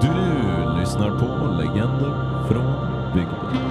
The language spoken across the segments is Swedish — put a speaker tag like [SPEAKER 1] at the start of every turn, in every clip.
[SPEAKER 1] Du lyssnar på Legender från bygden.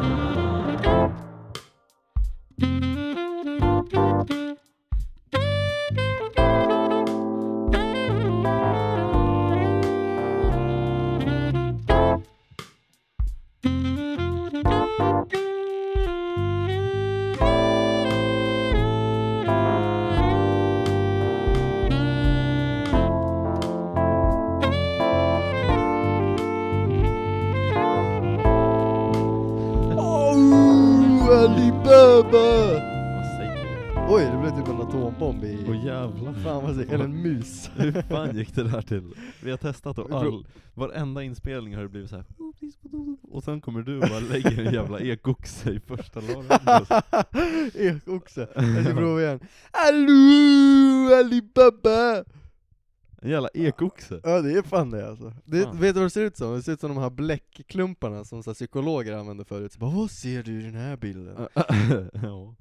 [SPEAKER 2] Oh, Ali Baba!
[SPEAKER 1] Vad säger du?
[SPEAKER 2] Oj, det blev typ en atombomb i...
[SPEAKER 1] Åh jävlar.
[SPEAKER 2] Fan vad säger Eller en mus.
[SPEAKER 1] Hur fan gick det där till? Vi har testat och
[SPEAKER 2] Bro.
[SPEAKER 1] all, varenda inspelning har det blivit så här. "Oh, och sen kommer du och bara lägger en jävla ekoxe i första lådan.
[SPEAKER 2] Ek också. Jag ska prova igen. Allo, Ali Baba!
[SPEAKER 1] En jävla ekoxe.
[SPEAKER 2] Ja det är fan det alltså. Det,
[SPEAKER 1] Fan.
[SPEAKER 2] Vet du vad det ser ut som? Det ser ut som de här bläckklumparna som så här, psykologer använde förut. Så bara, vad ser du i den här bilden?
[SPEAKER 1] ja,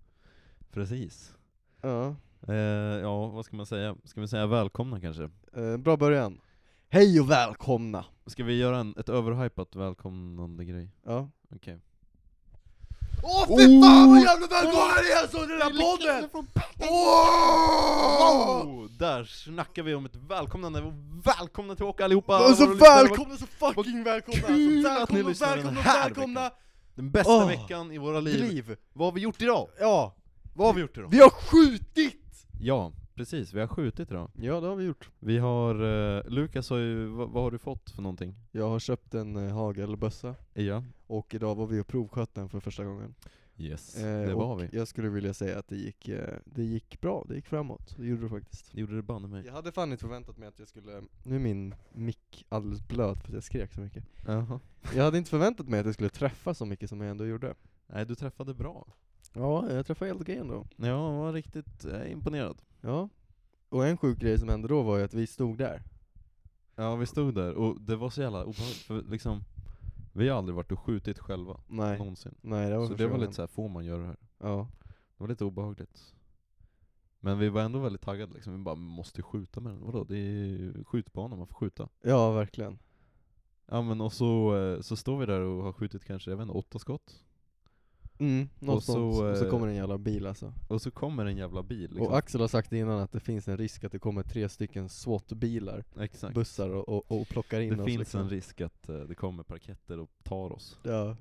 [SPEAKER 1] precis.
[SPEAKER 2] Ja,
[SPEAKER 1] Eh, ja, vad ska man säga? Ska vi säga välkomna kanske?
[SPEAKER 2] eh, bra början. Hej och välkomna!
[SPEAKER 1] Ska vi göra en, ett överhypat välkomnande grej?
[SPEAKER 2] Ja.
[SPEAKER 1] Okej. Oh!
[SPEAKER 2] Åh
[SPEAKER 1] fy fan, vad
[SPEAKER 2] jävla välkomna ni är så till den
[SPEAKER 1] Oh, där snackar vi om ett välkomnande, och välkomna tillbaka allihopa!
[SPEAKER 2] Och så
[SPEAKER 1] Våra lyssnare.
[SPEAKER 2] välkomna, så fucking Alltså, välkomna!
[SPEAKER 1] kul
[SPEAKER 2] Alltså,
[SPEAKER 1] att ni
[SPEAKER 2] välkomna,
[SPEAKER 1] lyssnar den
[SPEAKER 2] välkomna,
[SPEAKER 1] här
[SPEAKER 2] välkomna!
[SPEAKER 1] Den bästa
[SPEAKER 2] Åh,
[SPEAKER 1] veckan i våra liv.
[SPEAKER 2] Ah. Liv!
[SPEAKER 1] Vad har vi gjort idag?
[SPEAKER 2] Ja,
[SPEAKER 1] Vad har vi gjort idag?
[SPEAKER 2] vi har skjutit!
[SPEAKER 1] Ja, precis, vi har skjutit idag.
[SPEAKER 2] Ja det har vi gjort.
[SPEAKER 1] Vi har, eh, Lukas har ju, vad, vad har du fått för någonting?
[SPEAKER 2] Jag har köpt en eh, hagelbössa,
[SPEAKER 1] Ja.
[SPEAKER 2] och idag var vi och provsköt den för första gången.
[SPEAKER 1] Yes,
[SPEAKER 2] Eh,
[SPEAKER 1] det var
[SPEAKER 2] och
[SPEAKER 1] vi.
[SPEAKER 2] jag skulle vilja säga att det gick, eh, det gick bra, det gick framåt. Det gjorde det faktiskt.
[SPEAKER 1] Det gjorde det banne mig.
[SPEAKER 2] Jag hade fan inte förväntat mig att jag skulle, nu är min mick alldeles blöt för att jag skrek så mycket.
[SPEAKER 1] Jaha.
[SPEAKER 2] Jag hade inte förväntat mig att jag skulle träffa så mycket som jag ändå gjorde.
[SPEAKER 1] Nej, du träffade bra.
[SPEAKER 2] Ja, jag träffade helt okej ändå.
[SPEAKER 1] Ja, jag var riktigt eh, imponerad.
[SPEAKER 2] Ja. Och en sjuk grej som hände då var ju att vi stod där.
[SPEAKER 1] Ja, vi stod där och det var så jävla obehagligt, för liksom, vi har aldrig varit och skjutit själva,
[SPEAKER 2] Nej.
[SPEAKER 1] någonsin.
[SPEAKER 2] Nej, det var
[SPEAKER 1] Så
[SPEAKER 2] första
[SPEAKER 1] det var
[SPEAKER 2] gången.
[SPEAKER 1] lite så här, får man göra det här?
[SPEAKER 2] Ja.
[SPEAKER 1] Det var lite obehagligt. Men vi var ändå väldigt taggade liksom, vi bara måste ju skjuta med den. Vadå? Det är ju skjutbana, man får skjuta.
[SPEAKER 2] ja, verkligen.
[SPEAKER 1] Ja men och så, eh, så står vi där och har skjutit kanske, jag vet inte, åtta skott.
[SPEAKER 2] Mm, något
[SPEAKER 1] Och så,
[SPEAKER 2] sånt. Och så
[SPEAKER 1] eh,
[SPEAKER 2] kommer en jävla bil alltså.
[SPEAKER 1] Och så kommer en jävla bil liksom.
[SPEAKER 2] Och Axel har sagt innan att det finns en risk att det kommer tre stycken SWAT-bilar,
[SPEAKER 1] Exakt.
[SPEAKER 2] bussar och, och, och plockar in
[SPEAKER 1] Det
[SPEAKER 2] oss.
[SPEAKER 1] finns
[SPEAKER 2] liksom.
[SPEAKER 1] en risk att eh, det kommer parketter och tar oss.
[SPEAKER 2] Ja.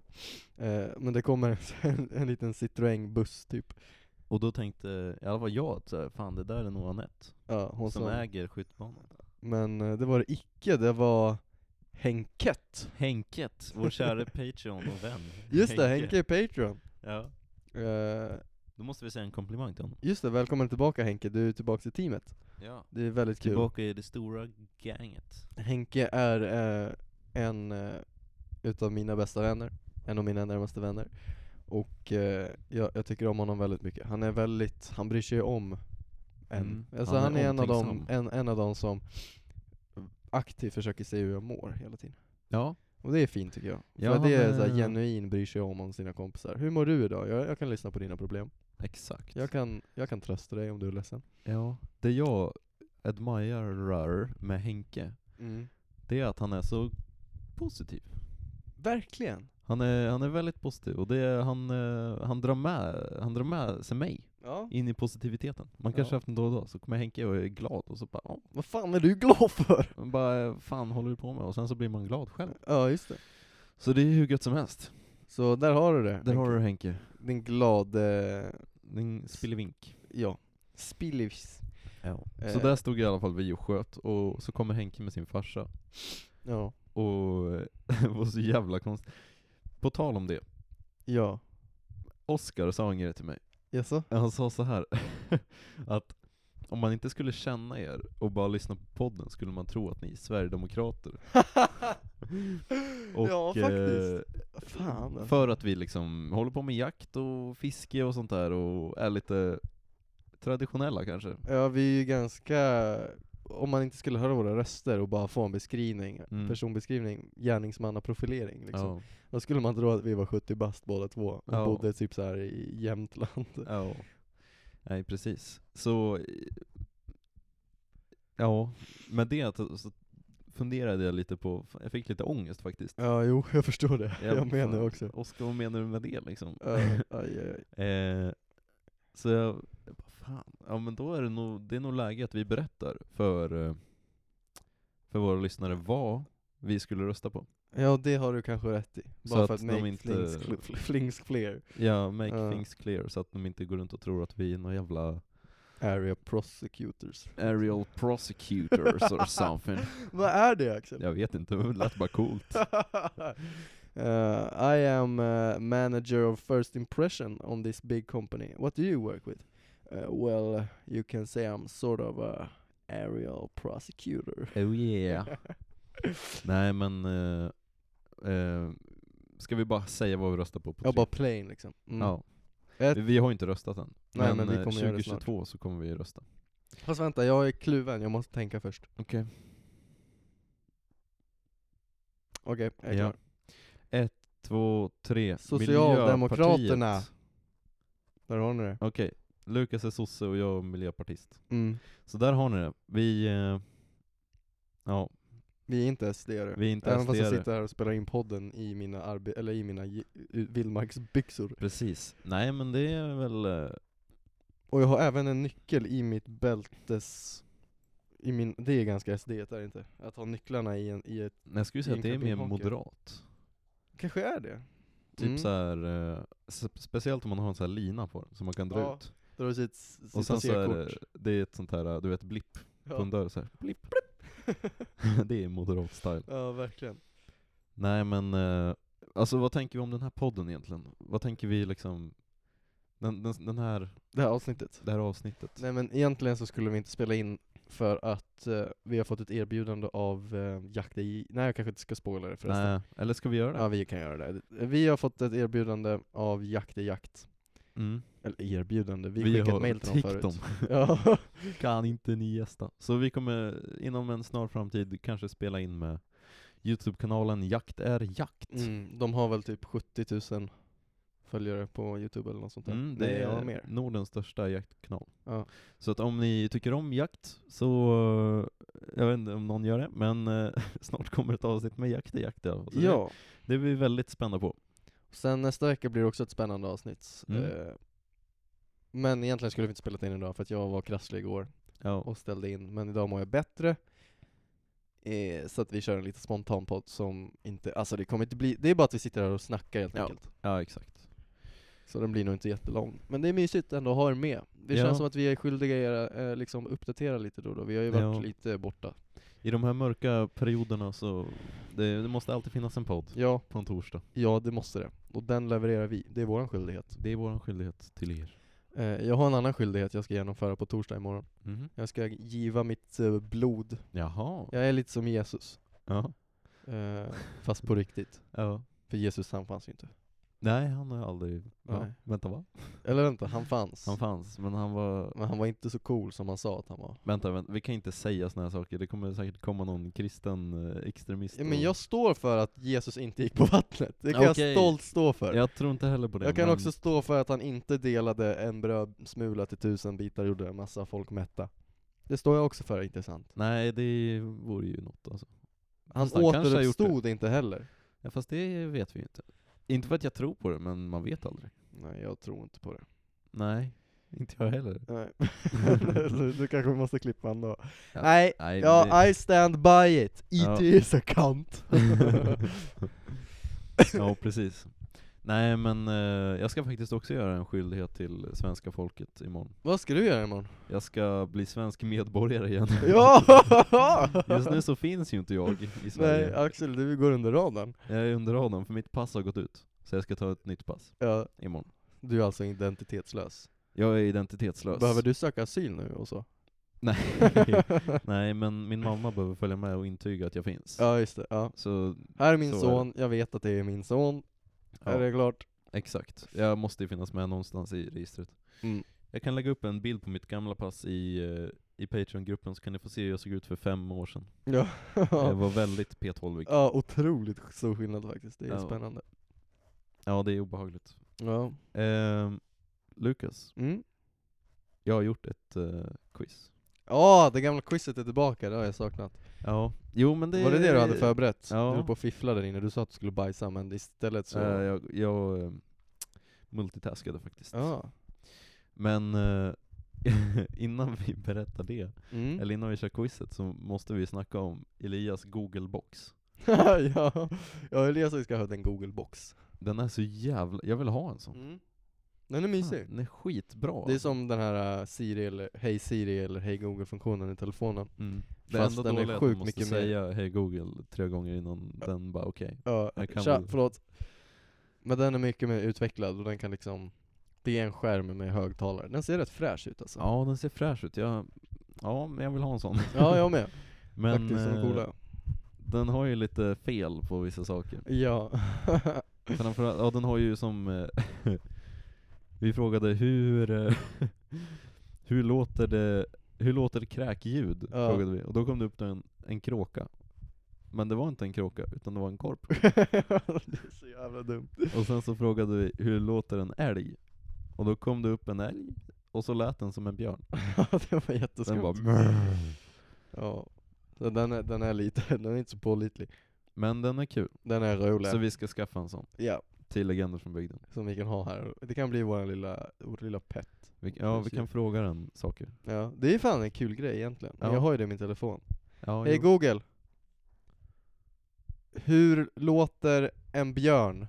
[SPEAKER 2] Eh, men det kommer en, en liten Citroën-buss typ.
[SPEAKER 1] Och då tänkte i alla fall jag att så här, fan det där är nog Anette
[SPEAKER 2] Ja, hon
[SPEAKER 1] som
[SPEAKER 2] som
[SPEAKER 1] äger skjutbanan.
[SPEAKER 2] Men eh, det var det icke, det var Henket.
[SPEAKER 1] Henket, vår käre Patreon och vän.
[SPEAKER 2] Just det, Henke är Patreon.
[SPEAKER 1] Ja.
[SPEAKER 2] Eh,
[SPEAKER 1] Då måste vi säga en komplimang till honom.
[SPEAKER 2] just det, välkommen tillbaka Henke, du är tillbaka i teamet.
[SPEAKER 1] Ja.
[SPEAKER 2] Det är väldigt kul.
[SPEAKER 1] Tillbaka i det stora gänget.
[SPEAKER 2] Henke är eh, en eh, utav mina bästa vänner, en av mina närmaste vänner. Och eh, jag, jag tycker om honom väldigt mycket. Han är väldigt, han bryr sig om en.
[SPEAKER 1] Mm,
[SPEAKER 2] Alltså
[SPEAKER 1] han
[SPEAKER 2] han,
[SPEAKER 1] är
[SPEAKER 2] är en av, dem,
[SPEAKER 1] omtänksam.
[SPEAKER 2] en, en av dem som aktivt försöker se hur jag mår hela tiden.
[SPEAKER 1] Ja.
[SPEAKER 2] Och det är fint tycker jag.
[SPEAKER 1] Ja,
[SPEAKER 2] För det är
[SPEAKER 1] men-
[SPEAKER 2] såhär genuin bryr sig om, om sina kompisar. Hur mår du idag? Jag, jag kan lyssna på dina problem.
[SPEAKER 1] Exakt.
[SPEAKER 2] Jag kan, jag kan trösta dig om du är ledsen.
[SPEAKER 1] Ja. Det jag admirar med Henke, det är att han är så positiv.
[SPEAKER 2] Verkligen!
[SPEAKER 1] Han är, han är väldigt positiv och det är, han, eh, han, drar med, han drar med sig mig
[SPEAKER 2] Ja.
[SPEAKER 1] in i positiviteten. Man kanske
[SPEAKER 2] Ja.
[SPEAKER 1] haft en dålig dag, så kommer Henke och är glad och så bara, ja,
[SPEAKER 2] Vad fan är du glad för?
[SPEAKER 1] man bara fan håller du på med? Och sen så blir man glad själv.
[SPEAKER 2] Ja, just det.
[SPEAKER 1] Så det är hur gött som helst.
[SPEAKER 2] Så där har du det.
[SPEAKER 1] Där har du Henke.
[SPEAKER 2] Din glade, eh,
[SPEAKER 1] Din spillevink.
[SPEAKER 2] ja, spillivs.
[SPEAKER 1] Så
[SPEAKER 2] Eh.
[SPEAKER 1] där stod i alla fall vi och sköt och så kommer Henke med sin farsa.
[SPEAKER 2] Ja.
[SPEAKER 1] Och det var så jävla konstigt. På tal om det,
[SPEAKER 2] Ja.
[SPEAKER 1] Oscar sa en grej till mig.
[SPEAKER 2] Jaså?
[SPEAKER 1] Han sa så här att om man inte skulle känna er och bara lyssna på podden skulle man tro att ni är sverigedemokrater. Och,
[SPEAKER 2] ja, faktiskt. Fan
[SPEAKER 1] Eh,
[SPEAKER 2] alltså.
[SPEAKER 1] för att vi liksom håller på med jakt och fiske och sånt där och är lite traditionella kanske.
[SPEAKER 2] Ja, vi är ju ganska, om man inte skulle höra våra röster och bara få en beskrivning,
[SPEAKER 1] Mm.
[SPEAKER 2] personbeskrivning, gärningsmannaprofilering liksom.
[SPEAKER 1] Ja.
[SPEAKER 2] Då skulle man tro att vi var 70 bast båda två och
[SPEAKER 1] Ja.
[SPEAKER 2] bodde typ så här i Jämtland.
[SPEAKER 1] ja. Nej precis. Så, eh, ja, med det att- så funderade jag lite på, fan, jag fick lite ångest faktiskt.
[SPEAKER 2] Ja, jo, jag förstår det. Jag, menar
[SPEAKER 1] fan,
[SPEAKER 2] också.
[SPEAKER 1] Oskar, vad menar du med det liksom?
[SPEAKER 2] Uh, aj, aj, aj.
[SPEAKER 1] Eh, så jag, jag bara, fan, ja men då är det nog, det är nog läge att vi berättar för, eh, för våra lyssnare vad vi skulle rösta på.
[SPEAKER 2] Ja, det har du kanske rätt i.
[SPEAKER 1] Så
[SPEAKER 2] Bara för
[SPEAKER 1] att
[SPEAKER 2] att,
[SPEAKER 1] de
[SPEAKER 2] make
[SPEAKER 1] inte-
[SPEAKER 2] flings, cl- fl- flings clear.
[SPEAKER 1] Ja, make
[SPEAKER 2] Ja.
[SPEAKER 1] things clear så att de inte går runt och tror att vi är några jävla
[SPEAKER 2] Area prosecutors.
[SPEAKER 1] aerial prosecutors or something.
[SPEAKER 2] Vad är det Axel?
[SPEAKER 1] Jag vet inte, men det lät bara coolt.
[SPEAKER 2] Uh, I am uh, manager of first impression on this big company. What do you work with? Uh, well, uh, you can say I'm sort of a aerial prosecutor.
[SPEAKER 1] Oh yeah. Nej men, eh, eh, ska vi bara säga vad vi röstar på? på
[SPEAKER 2] Jag
[SPEAKER 1] tre?
[SPEAKER 2] bara plain liksom. Mm.
[SPEAKER 1] typ. ja.
[SPEAKER 2] Ett-
[SPEAKER 1] Vi- Vi har ju inte röstat än.
[SPEAKER 2] Nej,
[SPEAKER 1] men
[SPEAKER 2] men vi
[SPEAKER 1] eh,
[SPEAKER 2] kommer göra det snart.
[SPEAKER 1] 2022 så kommer vi rösta.
[SPEAKER 2] Fast vänta, jag är kluven, jag måste tänka först.
[SPEAKER 1] Okej.
[SPEAKER 2] Okej, jag är
[SPEAKER 1] Ja.
[SPEAKER 2] klar.
[SPEAKER 1] Två, tre.
[SPEAKER 2] Socialdemokraterna.
[SPEAKER 1] Miljöpartiet.
[SPEAKER 2] Där har ni det.
[SPEAKER 1] Okej. Lukas är sosse och jag är miljöpartist.
[SPEAKER 2] Mm.
[SPEAKER 1] Så där har ni det. Vi, eh, ja,
[SPEAKER 2] Vi är inte sd -are.
[SPEAKER 1] vi är inte
[SPEAKER 2] Även fast jag
[SPEAKER 1] SD-are.
[SPEAKER 2] sitter här och spelar in podden i mina, arbe- eller i mina j- vildmarksbyxor.
[SPEAKER 1] Precis. Nej men det är väl, eh,
[SPEAKER 2] Och jag har även en nyckel i mitt bältes... I min, det är ganska SD är det inte? Att ha nycklarna i, en, i ett...
[SPEAKER 1] jag skulle säga att det är mer
[SPEAKER 2] Egentligen pinpocket.
[SPEAKER 1] moderat.
[SPEAKER 2] Kanske är det?
[SPEAKER 1] Typ
[SPEAKER 2] typ. Mm.
[SPEAKER 1] så här, eh, s- speciellt om man har en sån här lina på den som man kan dra
[SPEAKER 2] Ja,
[SPEAKER 1] ut.
[SPEAKER 2] Där har sitt, sitt
[SPEAKER 1] Och sen så är det,
[SPEAKER 2] passerkort.
[SPEAKER 1] det är ett sånt här, eh, du vet, blipp på en
[SPEAKER 2] Ja.
[SPEAKER 1] dörr så här. Blipp, det är moderat style.
[SPEAKER 2] ja, verkligen.
[SPEAKER 1] Nej men, eh, alltså vad tänker vi om den här podden egentligen? Vad tänker vi liksom, den, den, den här,
[SPEAKER 2] Det här avsnittet.
[SPEAKER 1] det här avsnittet?
[SPEAKER 2] Nej men egentligen så skulle vi inte spela in för att eh, vi har fått ett erbjudande av eh, Jack the... Nej jag kanske inte ska spoila det förresten.
[SPEAKER 1] Nej, eller ska vi göra det?
[SPEAKER 2] Ja vi kan göra det. Vi har fått ett erbjudande av Jakt är jakt.
[SPEAKER 1] Mm.
[SPEAKER 2] Eller erbjudande, vi, skickade ett mail till dem
[SPEAKER 1] tiggt
[SPEAKER 2] förut.
[SPEAKER 1] dem.
[SPEAKER 2] Ja.
[SPEAKER 1] Kan inte ni gästa? Så vi kommer inom en snar framtid kanske spela in med Youtube-kanalen Jakt är jakt.
[SPEAKER 2] Mm, de har väl typ 70 000 följare på youtube eller något sånt där.
[SPEAKER 1] Mm, det
[SPEAKER 2] Nej,
[SPEAKER 1] är
[SPEAKER 2] ja, mer.
[SPEAKER 1] Nordens största jaktkanal.
[SPEAKER 2] Ja.
[SPEAKER 1] Så att om ni tycker om jakt så, eh, jag vet inte om någon gör det, men eh, snart kommer ett avsnitt med jakt i jakt. i alla fall. Så
[SPEAKER 2] Ja.
[SPEAKER 1] Det, det blir vi väldigt spända på.
[SPEAKER 2] Sen nästa vecka blir det också ett spännande avsnitt.
[SPEAKER 1] Mm.
[SPEAKER 2] Eh, men egentligen skulle vi inte spelat in idag för att jag var krasslig igår
[SPEAKER 1] Ja.
[SPEAKER 2] och ställde in. Men idag mår jag bättre. Eh, så att vi kör en lite spontan podd som inte, alltså det kommer inte bli, det är bara att vi sitter här och snackar helt
[SPEAKER 1] Ja.
[SPEAKER 2] enkelt.
[SPEAKER 1] ja, exakt.
[SPEAKER 2] Så den blir nog inte jättelång. Men det är mysigt ändå att ha er med. Det
[SPEAKER 1] Ja.
[SPEAKER 2] känns som att vi är skyldiga er eh, liksom uppdatera lite då och då. Vi har ju varit
[SPEAKER 1] Ja.
[SPEAKER 2] lite borta.
[SPEAKER 1] I de här mörka perioderna så, det, det måste alltid finnas en podd
[SPEAKER 2] Ja,
[SPEAKER 1] på en torsdag.
[SPEAKER 2] Ja, det måste det. Och den levererar vi. Det är vår skyldighet.
[SPEAKER 1] Det är vår skyldighet till er.
[SPEAKER 2] Eh, jag har en annan skyldighet jag ska genomföra på torsdag imorgon.
[SPEAKER 1] Mhm.
[SPEAKER 2] Jag ska giva mitt eh, blod.
[SPEAKER 1] Jaha.
[SPEAKER 2] Jag är lite som Jesus.
[SPEAKER 1] Ja.
[SPEAKER 2] Eh, fast på riktigt.
[SPEAKER 1] ja.
[SPEAKER 2] För Jesus han fanns ju inte.
[SPEAKER 1] Nej, han har aldrig... Ja.
[SPEAKER 2] Nej.
[SPEAKER 1] Vänta va?
[SPEAKER 2] Eller vänta, han fanns.
[SPEAKER 1] Han fanns, men han var...
[SPEAKER 2] Men han var inte så cool som han sa att han var.
[SPEAKER 1] Vänta, vänta, vi kan inte säga såna här saker, det kommer säkert komma någon kristen eh, extremist
[SPEAKER 2] Ja, men
[SPEAKER 1] och-
[SPEAKER 2] jag står för att Jesus inte gick på vattnet. Det kan
[SPEAKER 1] Okej.
[SPEAKER 2] jag stolt stå för.
[SPEAKER 1] Jag tror inte heller på det
[SPEAKER 2] jag kan
[SPEAKER 1] men...
[SPEAKER 2] också stå för att han inte delade en brödsmula till tusen bitar och gjorde en massa folk mätta. Det står jag också för, inte sant?
[SPEAKER 1] Nej det vore ju något alltså.
[SPEAKER 2] Han
[SPEAKER 1] Fast han kanske har gjort det.
[SPEAKER 2] återuppstod inte heller.
[SPEAKER 1] Ja, fast det vet vi ju inte. Inte för att jag tror på det, men man vet aldrig.
[SPEAKER 2] Nej, jag tror inte på det.
[SPEAKER 1] Nej, inte jag heller.
[SPEAKER 2] Nej. du, du kanske måste klippa ändå.
[SPEAKER 1] Ja.
[SPEAKER 2] Nej,
[SPEAKER 1] Nej,
[SPEAKER 2] ja,
[SPEAKER 1] det...
[SPEAKER 2] I stand by it.
[SPEAKER 1] Ja.
[SPEAKER 2] IT is a cunt.
[SPEAKER 1] Mm. ja precis. Nej men eh, jag ska faktiskt också göra en skyldighet till svenska folket imorgon.
[SPEAKER 2] Vad ska du göra imorgon?
[SPEAKER 1] Jag ska bli svensk medborgare igen.
[SPEAKER 2] ja!
[SPEAKER 1] Just nu så finns ju inte jag i Sverige.
[SPEAKER 2] Nej, Axel, du går under radarn.
[SPEAKER 1] Jag är under radarn för mitt pass har gått ut. Så jag ska ta ett nytt pass
[SPEAKER 2] Ja,
[SPEAKER 1] imorgon.
[SPEAKER 2] du är alltså identitetslös.
[SPEAKER 1] Jag är identitetslös.
[SPEAKER 2] Behöver du söka asyl nu och så?
[SPEAKER 1] Nej. Nej men min mamma behöver följa med och intyga att jag finns.
[SPEAKER 2] ja, just det. Ja.
[SPEAKER 1] Så
[SPEAKER 2] Här är min
[SPEAKER 1] Så är
[SPEAKER 2] son, jag vet att det är min son.
[SPEAKER 1] ja,
[SPEAKER 2] Är det klart?
[SPEAKER 1] exakt. Jag måste ju finnas med någonstans i registret.
[SPEAKER 2] Mm.
[SPEAKER 1] Jag kan lägga upp en bild på mitt gamla pass i, eh, i Patreon-gruppen så kan ni få se hur jag såg ut för fem år sedan.
[SPEAKER 2] Ja.
[SPEAKER 1] Jag var väldigt petholvig.
[SPEAKER 2] ja, otroligt stor skillnad faktiskt. Det är
[SPEAKER 1] Ja.
[SPEAKER 2] spännande.
[SPEAKER 1] Ja det är obehagligt.
[SPEAKER 2] Ja.
[SPEAKER 1] Ehm, Lukas,
[SPEAKER 2] Mm.
[SPEAKER 1] jag har gjort ett eh, quiz.
[SPEAKER 2] Ja, det gamla quizet är tillbaka, det har jag saknat.
[SPEAKER 1] Ja, jo men det
[SPEAKER 2] Var det det du hade förberett?
[SPEAKER 1] Ja.
[SPEAKER 2] Du höll på att fiffla där inne, du sa att du skulle bajsa men istället så...
[SPEAKER 1] Eh, jag, jag eh, multitaskade faktiskt.
[SPEAKER 2] Ja.
[SPEAKER 1] Men eh, innan vi berättar det,
[SPEAKER 2] Mm.
[SPEAKER 1] eller innan vi kör quizet, så måste vi snacka om Elias Google-box.
[SPEAKER 2] ja. ja, Elias ska ha en Google-box.
[SPEAKER 1] Den är så jävla, jag vill ha en sån.
[SPEAKER 2] Den är Mm, mysig.
[SPEAKER 1] Fan, den är skitbra. alltså.
[SPEAKER 2] Det är som den här eh, Siri eller Hej Siri eller Hej Google-funktionen i telefonen.
[SPEAKER 1] Mm. Det
[SPEAKER 2] Fast
[SPEAKER 1] enda
[SPEAKER 2] den är
[SPEAKER 1] dåliga är att man
[SPEAKER 2] sjukt
[SPEAKER 1] måste
[SPEAKER 2] mycket mer-
[SPEAKER 1] säga hej google tre gånger innan den bara okej.
[SPEAKER 2] Ja,
[SPEAKER 1] Jag kan
[SPEAKER 2] tja,
[SPEAKER 1] väl-
[SPEAKER 2] förlåt. Men den är mycket mer utvecklad och den kan liksom Det är en skärm med högtalare. Den ser rätt fräsch ut alltså.
[SPEAKER 1] Ja den ser fräsch ut, jag, ja men jag vill ha en sån.
[SPEAKER 2] ja jag med.
[SPEAKER 1] men
[SPEAKER 2] Faktiskt, de
[SPEAKER 1] eh,
[SPEAKER 2] är coola.
[SPEAKER 1] den har ju lite fel på vissa saker.
[SPEAKER 2] Ja.
[SPEAKER 1] Framförallt, ja den har ju som, eh, vi frågade hur, eh, hur låter det, hur låter det kräkljud?
[SPEAKER 2] Ja.
[SPEAKER 1] Frågade vi, och då kom det upp en, en kråka. Men det var inte en kråka, utan det var en korp.
[SPEAKER 2] det är så jävla dumt.
[SPEAKER 1] Och sen så frågade vi, hur låter en älg? Och då kom det upp en älg, och så lät den som en björn.
[SPEAKER 2] Ja, det var jätteskumt.
[SPEAKER 1] Den bara
[SPEAKER 2] Ja. Så den är, den är lite, den är inte så pålitlig.
[SPEAKER 1] Men den är kul,
[SPEAKER 2] Den är rolig.
[SPEAKER 1] så vi ska skaffa en sån
[SPEAKER 2] Ja,
[SPEAKER 1] till Legender från bygden.
[SPEAKER 2] som vi kan ha här. Det kan bli vår lilla, vårt lilla pet.
[SPEAKER 1] Vi, ja, vi
[SPEAKER 2] Precis.
[SPEAKER 1] kan fråga den saker.
[SPEAKER 2] Ja, det är fan en kul grej egentligen. Men
[SPEAKER 1] Ja.
[SPEAKER 2] Jag har ju det i min telefon.
[SPEAKER 1] Ja,
[SPEAKER 2] Hej
[SPEAKER 1] jo.
[SPEAKER 2] Google. Hur låter en björn?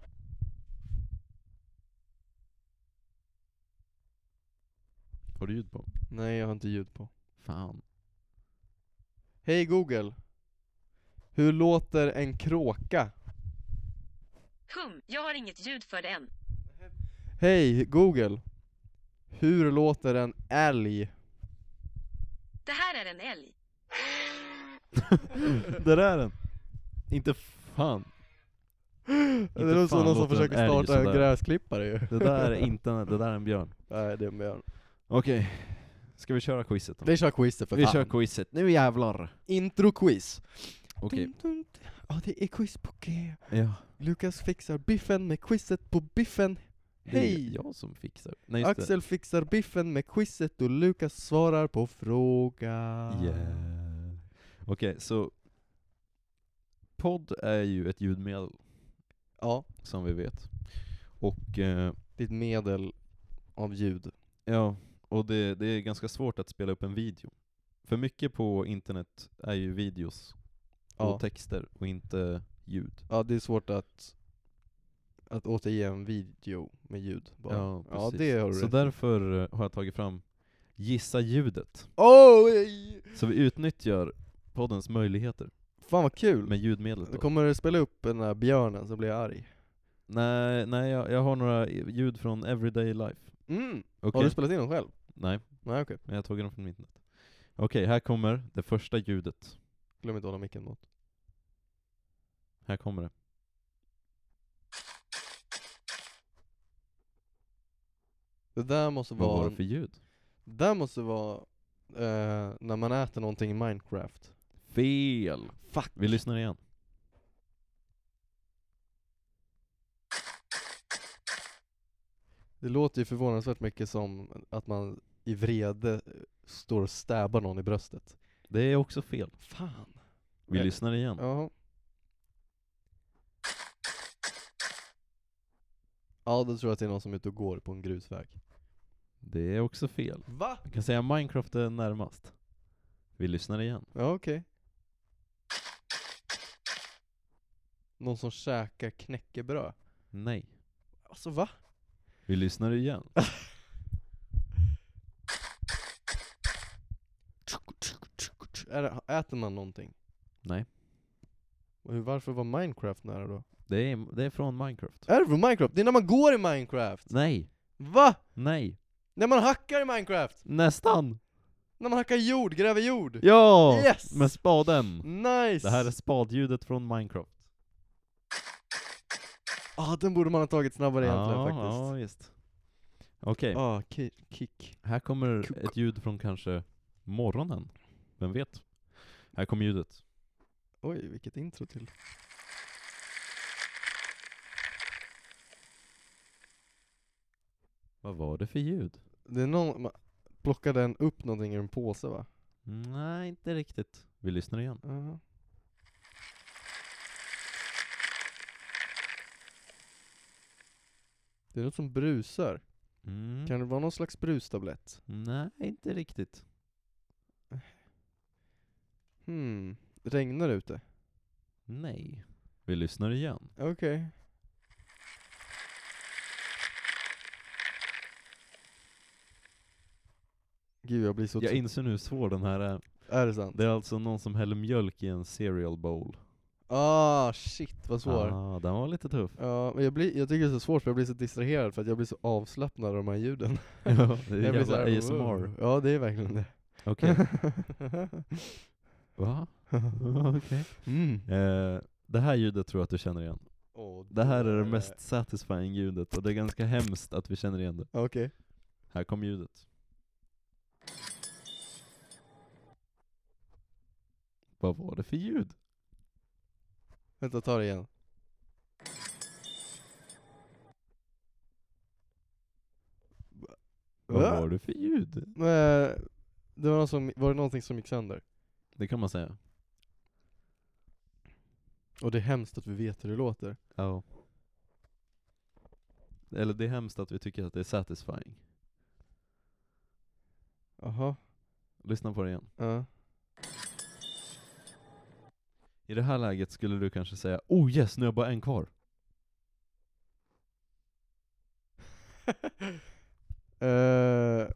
[SPEAKER 1] Har du ljud på?
[SPEAKER 2] Nej, jag har inte ljud på.
[SPEAKER 1] Fan.
[SPEAKER 2] Hej Google. Hur låter en kråka?
[SPEAKER 3] Hum, jag har inget ljud för det än.
[SPEAKER 2] Hej Google. Hur låter en älg?
[SPEAKER 3] Det här är en älg.
[SPEAKER 1] Där är den! Inte fan.
[SPEAKER 2] Det låter
[SPEAKER 1] fan
[SPEAKER 2] som någon som
[SPEAKER 1] låter en
[SPEAKER 2] försöker
[SPEAKER 1] älg
[SPEAKER 2] starta en
[SPEAKER 1] sådär.
[SPEAKER 2] gräsklippare ju.
[SPEAKER 1] Det där är inte en, det där är en björn.
[SPEAKER 2] Nej, det är en björn.
[SPEAKER 1] Okej, ska vi köra quizet då?
[SPEAKER 2] Vi kör quizet för
[SPEAKER 1] Vi
[SPEAKER 2] fan.
[SPEAKER 1] kör quizet, nu jävlar!
[SPEAKER 2] Intro-quiz.
[SPEAKER 1] Okej,
[SPEAKER 2] Dun, dun, dun. Ja, det är quiz på G.
[SPEAKER 1] ja.
[SPEAKER 2] Lukas fixar biffen med quizet på biffen.
[SPEAKER 1] Det är
[SPEAKER 2] Hej.
[SPEAKER 1] jag som fixar. Nej just
[SPEAKER 2] Axel fixar biffen med quizet och Lukas svarar på frågan.
[SPEAKER 1] det. Yeah. Okej, så podd är ju ett ljudmedel
[SPEAKER 2] Ja,
[SPEAKER 1] som vi vet. Och eh,
[SPEAKER 2] det är ett medel av ljud.
[SPEAKER 1] Ja, och det, det är ganska svårt att spela upp en video. För mycket på internet är ju videos och
[SPEAKER 2] Ja,
[SPEAKER 1] texter och inte ljud.
[SPEAKER 2] ja det är svårt att, att återge en video med ljud bara. ja det har du
[SPEAKER 1] Så
[SPEAKER 2] rätt i.
[SPEAKER 1] därför eh, har jag tagit fram Gissa ljudet.
[SPEAKER 2] Oj!
[SPEAKER 1] Så vi utnyttjar poddens möjligheter
[SPEAKER 2] Fan vad kul!
[SPEAKER 1] med ljudmedlet.
[SPEAKER 2] Du
[SPEAKER 1] då.
[SPEAKER 2] kommer du spela upp den där björnen så blir jag arg.
[SPEAKER 1] Nej, nej jag, jag har några ljud från everyday life.
[SPEAKER 2] Mm.
[SPEAKER 1] Okej?
[SPEAKER 2] Har du spelat in den själv?
[SPEAKER 1] Nej,
[SPEAKER 2] Nej okej,
[SPEAKER 1] men jag tog dem från internet. Okej, här kommer det första ljudet.
[SPEAKER 2] glöm inte att hålla micken mot.
[SPEAKER 1] Här kommer det.
[SPEAKER 2] Det där måste
[SPEAKER 1] Vad var
[SPEAKER 2] vara,
[SPEAKER 1] det för ljud?
[SPEAKER 2] det där måste vara eh, när man äter någonting i Minecraft.
[SPEAKER 1] Fel!
[SPEAKER 2] Fuck!
[SPEAKER 1] Vi lyssnar igen.
[SPEAKER 2] Det låter ju förvånansvärt mycket som att man i vrede eh, står och stäbar någon i bröstet.
[SPEAKER 1] Det är också fel.
[SPEAKER 2] Fan.
[SPEAKER 1] Vi
[SPEAKER 2] Eh,
[SPEAKER 1] lyssnar igen.
[SPEAKER 2] Ja. Ja, då tror jag att det är någon som är ute och går på en grusväg.
[SPEAKER 1] Det är också fel.
[SPEAKER 2] Va?
[SPEAKER 1] Jag kan säga Minecraft är närmast. Vi lyssnar igen.
[SPEAKER 2] Ja, okej. Någon som käkar knäckebröd.
[SPEAKER 1] Nej.
[SPEAKER 2] Alltså va?
[SPEAKER 1] Vi lyssnar igen.
[SPEAKER 2] Är det, äter man någonting?
[SPEAKER 1] Nej.
[SPEAKER 2] Och hur- varför var Minecraft nära då?
[SPEAKER 1] Det är, det är från Minecraft.
[SPEAKER 2] Är det från Minecraft? Det är när man går i Minecraft!
[SPEAKER 1] Nej.
[SPEAKER 2] Va?
[SPEAKER 1] Nej.
[SPEAKER 2] När man hackar i Minecraft!
[SPEAKER 1] Nästan.
[SPEAKER 2] När man hackar jord, gräver jord!
[SPEAKER 1] Ja!
[SPEAKER 2] Yes!
[SPEAKER 1] Med spaden.
[SPEAKER 2] Nice!
[SPEAKER 1] Det här är spadljudet från Minecraft.
[SPEAKER 2] Ah, den borde man ha tagit snabbare egentligen
[SPEAKER 1] ja,
[SPEAKER 2] faktiskt.
[SPEAKER 1] ja, visst. Okej,
[SPEAKER 2] Ah, ki- kick.
[SPEAKER 1] här kommer ett ljud från kanske morgonen. Vem vet? Här kommer ljudet.
[SPEAKER 2] Oj, vilket intro till.
[SPEAKER 1] Vad var det för ljud?
[SPEAKER 2] Det är någon, man plockade en upp någonting ur en påse va?
[SPEAKER 1] Nej, inte riktigt. Vi lyssnar igen.
[SPEAKER 2] Jaha. Det är något som brusar.
[SPEAKER 1] Mm.
[SPEAKER 2] Kan det vara någon slags brustablett?
[SPEAKER 1] Nej, inte riktigt.
[SPEAKER 2] Hmm. Regnar det ute?
[SPEAKER 1] Nej. Vi lyssnar igen.
[SPEAKER 2] Okej. Gud jag blir så
[SPEAKER 1] Jag
[SPEAKER 2] trött.
[SPEAKER 1] inser nu hur svår den här är.
[SPEAKER 2] Är det sant?
[SPEAKER 1] Det är alltså någon som häller mjölk i en cereal bowl.
[SPEAKER 2] Ah shit vad svår.
[SPEAKER 1] Ah, den var lite tuff.
[SPEAKER 2] Ja, men jag, blir, jag tycker det är så svårt för jag blir så distraherad för att jag blir så avslappnad av de här ljuden.
[SPEAKER 1] Ja, det är
[SPEAKER 2] Jag blir så
[SPEAKER 1] jävla
[SPEAKER 2] här,
[SPEAKER 1] ASMR.
[SPEAKER 2] "Wow." Ja, det är verkligen det.
[SPEAKER 1] Okej. Va? Okej.
[SPEAKER 2] mm.
[SPEAKER 1] Eh, det här ljudet tror jag att du känner igen. Det här
[SPEAKER 2] Eh.
[SPEAKER 1] är det mest satisfying ljudet och det är ganska hemskt att vi känner igen det.
[SPEAKER 2] Okej.
[SPEAKER 1] Här kom ljudet. Vad var det för ljud?
[SPEAKER 2] Vänta, ta det igen.
[SPEAKER 1] Vad
[SPEAKER 2] Va?
[SPEAKER 1] var det för ljud?
[SPEAKER 2] Men, Eh, det var, någon som, var det någonting som gick sönder?
[SPEAKER 1] Det kan man säga.
[SPEAKER 2] Och det är hemskt att vi vet hur det låter.
[SPEAKER 1] Ja. Eller det är hemskt att vi tycker att det är satisfying.
[SPEAKER 2] Jaha.
[SPEAKER 1] Lyssna på det igen.
[SPEAKER 2] Ja.
[SPEAKER 1] I det här läget skulle du kanske säga Oh yes, nu har jag bara en kvar.
[SPEAKER 2] Eh,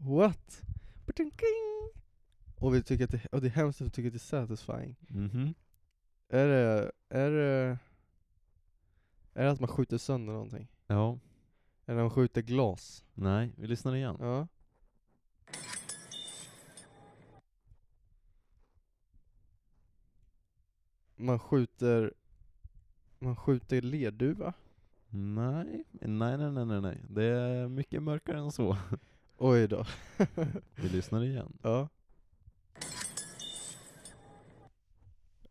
[SPEAKER 2] what? Badum-kling. Och vi tycker att det, och det är hemskt att vi tycker att det är satisfying.
[SPEAKER 1] Mhm.
[SPEAKER 2] Är det, är det, är det att man skjuter sönder någonting?
[SPEAKER 1] Ja.
[SPEAKER 2] Eller när man skjuter glas?
[SPEAKER 1] Nej, vi lyssnar igen.
[SPEAKER 2] Ja. Man skjuter, man skjuter lerduva?
[SPEAKER 1] Nej, nej, nej, nej, nej, nej. Det är mycket mörkare än så.
[SPEAKER 2] Oj då.
[SPEAKER 1] Vi lyssnar igen.
[SPEAKER 2] ja.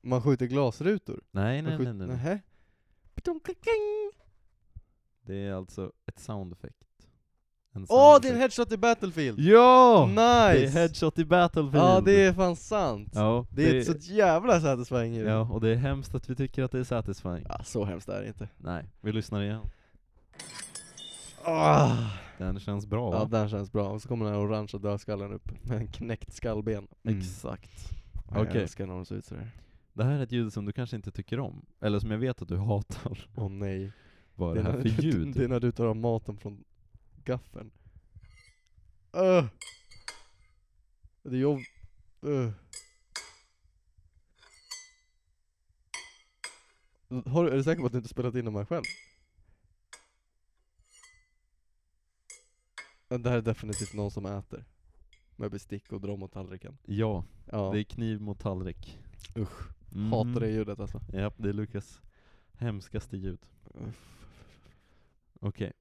[SPEAKER 2] Man skjuter glasrutor?
[SPEAKER 1] Nej,
[SPEAKER 2] Man
[SPEAKER 1] nej, nej,
[SPEAKER 2] skjut-
[SPEAKER 1] nej, nej.
[SPEAKER 2] Nähä. Badum-kling-kling.
[SPEAKER 1] Det är alltså ett sound effect. En
[SPEAKER 2] Åh,
[SPEAKER 1] sound
[SPEAKER 2] det är en
[SPEAKER 1] effect.
[SPEAKER 2] headshot i Battlefield!
[SPEAKER 1] Ja!
[SPEAKER 2] nice!
[SPEAKER 1] Det är headshot i Battlefield!
[SPEAKER 2] Ja, det är fan sant!
[SPEAKER 1] Ja,
[SPEAKER 2] Det är ett sånt jävla satisfying ljud.
[SPEAKER 1] Ja, och det är hemskt att vi tycker att det är satisfying.
[SPEAKER 2] Ja, så hemskt är det inte.
[SPEAKER 1] Nej, vi lyssnar igen.
[SPEAKER 2] Ah.
[SPEAKER 1] Den känns bra
[SPEAKER 2] Ja,
[SPEAKER 1] va?
[SPEAKER 2] den känns bra. Och så kommer den här orangea dödskallen upp med en knäckt skallben.
[SPEAKER 1] Mm.
[SPEAKER 2] Exakt.
[SPEAKER 1] Okej.
[SPEAKER 2] Jag älskar när de ser ut sådär.
[SPEAKER 1] Det här är ett ljud som du kanske inte tycker om, eller som jag vet att du hatar.
[SPEAKER 2] Åh nej.
[SPEAKER 1] Vad är det här
[SPEAKER 2] när-
[SPEAKER 1] för ljud?
[SPEAKER 2] Det är när du tar av maten från gaffeln. Öh. Det är jobb... Öh. Har, du- är du säker på att du inte spelat in de här själv? Ja, Det här är definitivt någon som äter. Med bestick och drom och tallriken.
[SPEAKER 1] Ja,
[SPEAKER 2] Ja,
[SPEAKER 1] det är kniv mot tallrik.
[SPEAKER 2] usch.
[SPEAKER 1] Mm.
[SPEAKER 2] Hatar det ljudet alltså.
[SPEAKER 1] Ja, det är Lukas hemskaste ljud. Okej,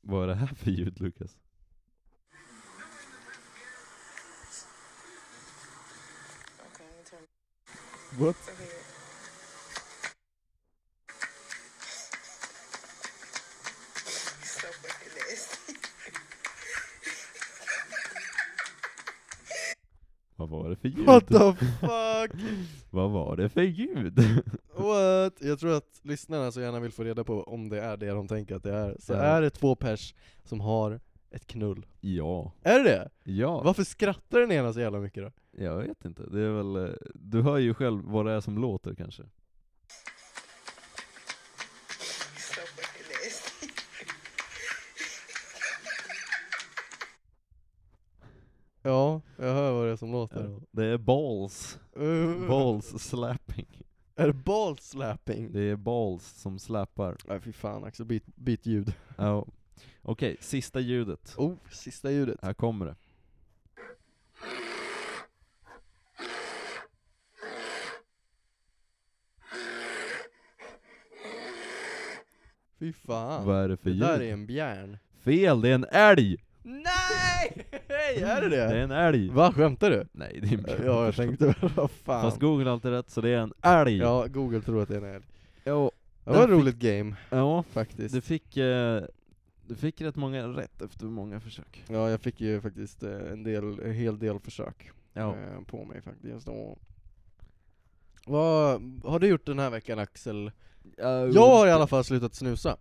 [SPEAKER 1] vad är det här för ljud Lukas?
[SPEAKER 4] Okay, let me turn.
[SPEAKER 2] What?
[SPEAKER 4] Okay. so fucking nasty.
[SPEAKER 1] Vad var det för ljud?
[SPEAKER 2] What the fuck?
[SPEAKER 1] Vad var det för ljud?
[SPEAKER 2] What? Jag tror att lyssnarna så gärna vill få reda på om det är det de tänker att det är. Så
[SPEAKER 1] Ja.
[SPEAKER 2] är det två pers som har ett knull.
[SPEAKER 1] ja,
[SPEAKER 2] Är det det?
[SPEAKER 1] ja,
[SPEAKER 2] Varför skrattar den ena så jävla mycket då?
[SPEAKER 1] jag vet inte. Det är väl, eh, du hör ju själv vad det är som låter kanske.
[SPEAKER 4] So fucking nasty.
[SPEAKER 2] Ja, jag hör vad det är som låter.
[SPEAKER 1] Det är balls,
[SPEAKER 2] Uh,
[SPEAKER 1] balls slapping.
[SPEAKER 2] Är det ball slapping?
[SPEAKER 1] Det är balls som släpar.
[SPEAKER 2] Nej fy fan Axel, byt, byt ljud.
[SPEAKER 1] Ja. Okej, sista ljudet.
[SPEAKER 2] Oh, sista ljudet.
[SPEAKER 1] Här kommer det.
[SPEAKER 2] Fy fan.
[SPEAKER 1] Vad är det för
[SPEAKER 2] det
[SPEAKER 1] ljud?
[SPEAKER 2] där är en bjärn.
[SPEAKER 1] Fel, det är en älg!
[SPEAKER 2] Nej! Hej, är det
[SPEAKER 1] Det är
[SPEAKER 2] det?
[SPEAKER 1] en älg!
[SPEAKER 2] Va, skämtar du?
[SPEAKER 1] Nej, det är en björn.
[SPEAKER 2] Ja, jag tänkte väl, vad fan.
[SPEAKER 1] Fast Google har alltid rätt, så det är en älg!
[SPEAKER 2] Ja, Google tror att det är en älg.
[SPEAKER 1] Jo,
[SPEAKER 2] Det var ett
[SPEAKER 1] Den
[SPEAKER 2] roligt game
[SPEAKER 1] ja
[SPEAKER 2] faktiskt.
[SPEAKER 1] du fick eh, Du fick rätt många rätt efter många försök.
[SPEAKER 2] Ja, jag fick ju faktiskt eh, en, del, en hel del försök
[SPEAKER 1] Ja.
[SPEAKER 2] eh, på mig faktiskt. Och... Vad har du gjort den här veckan Axel? Jag har i alla fall slutat snusa.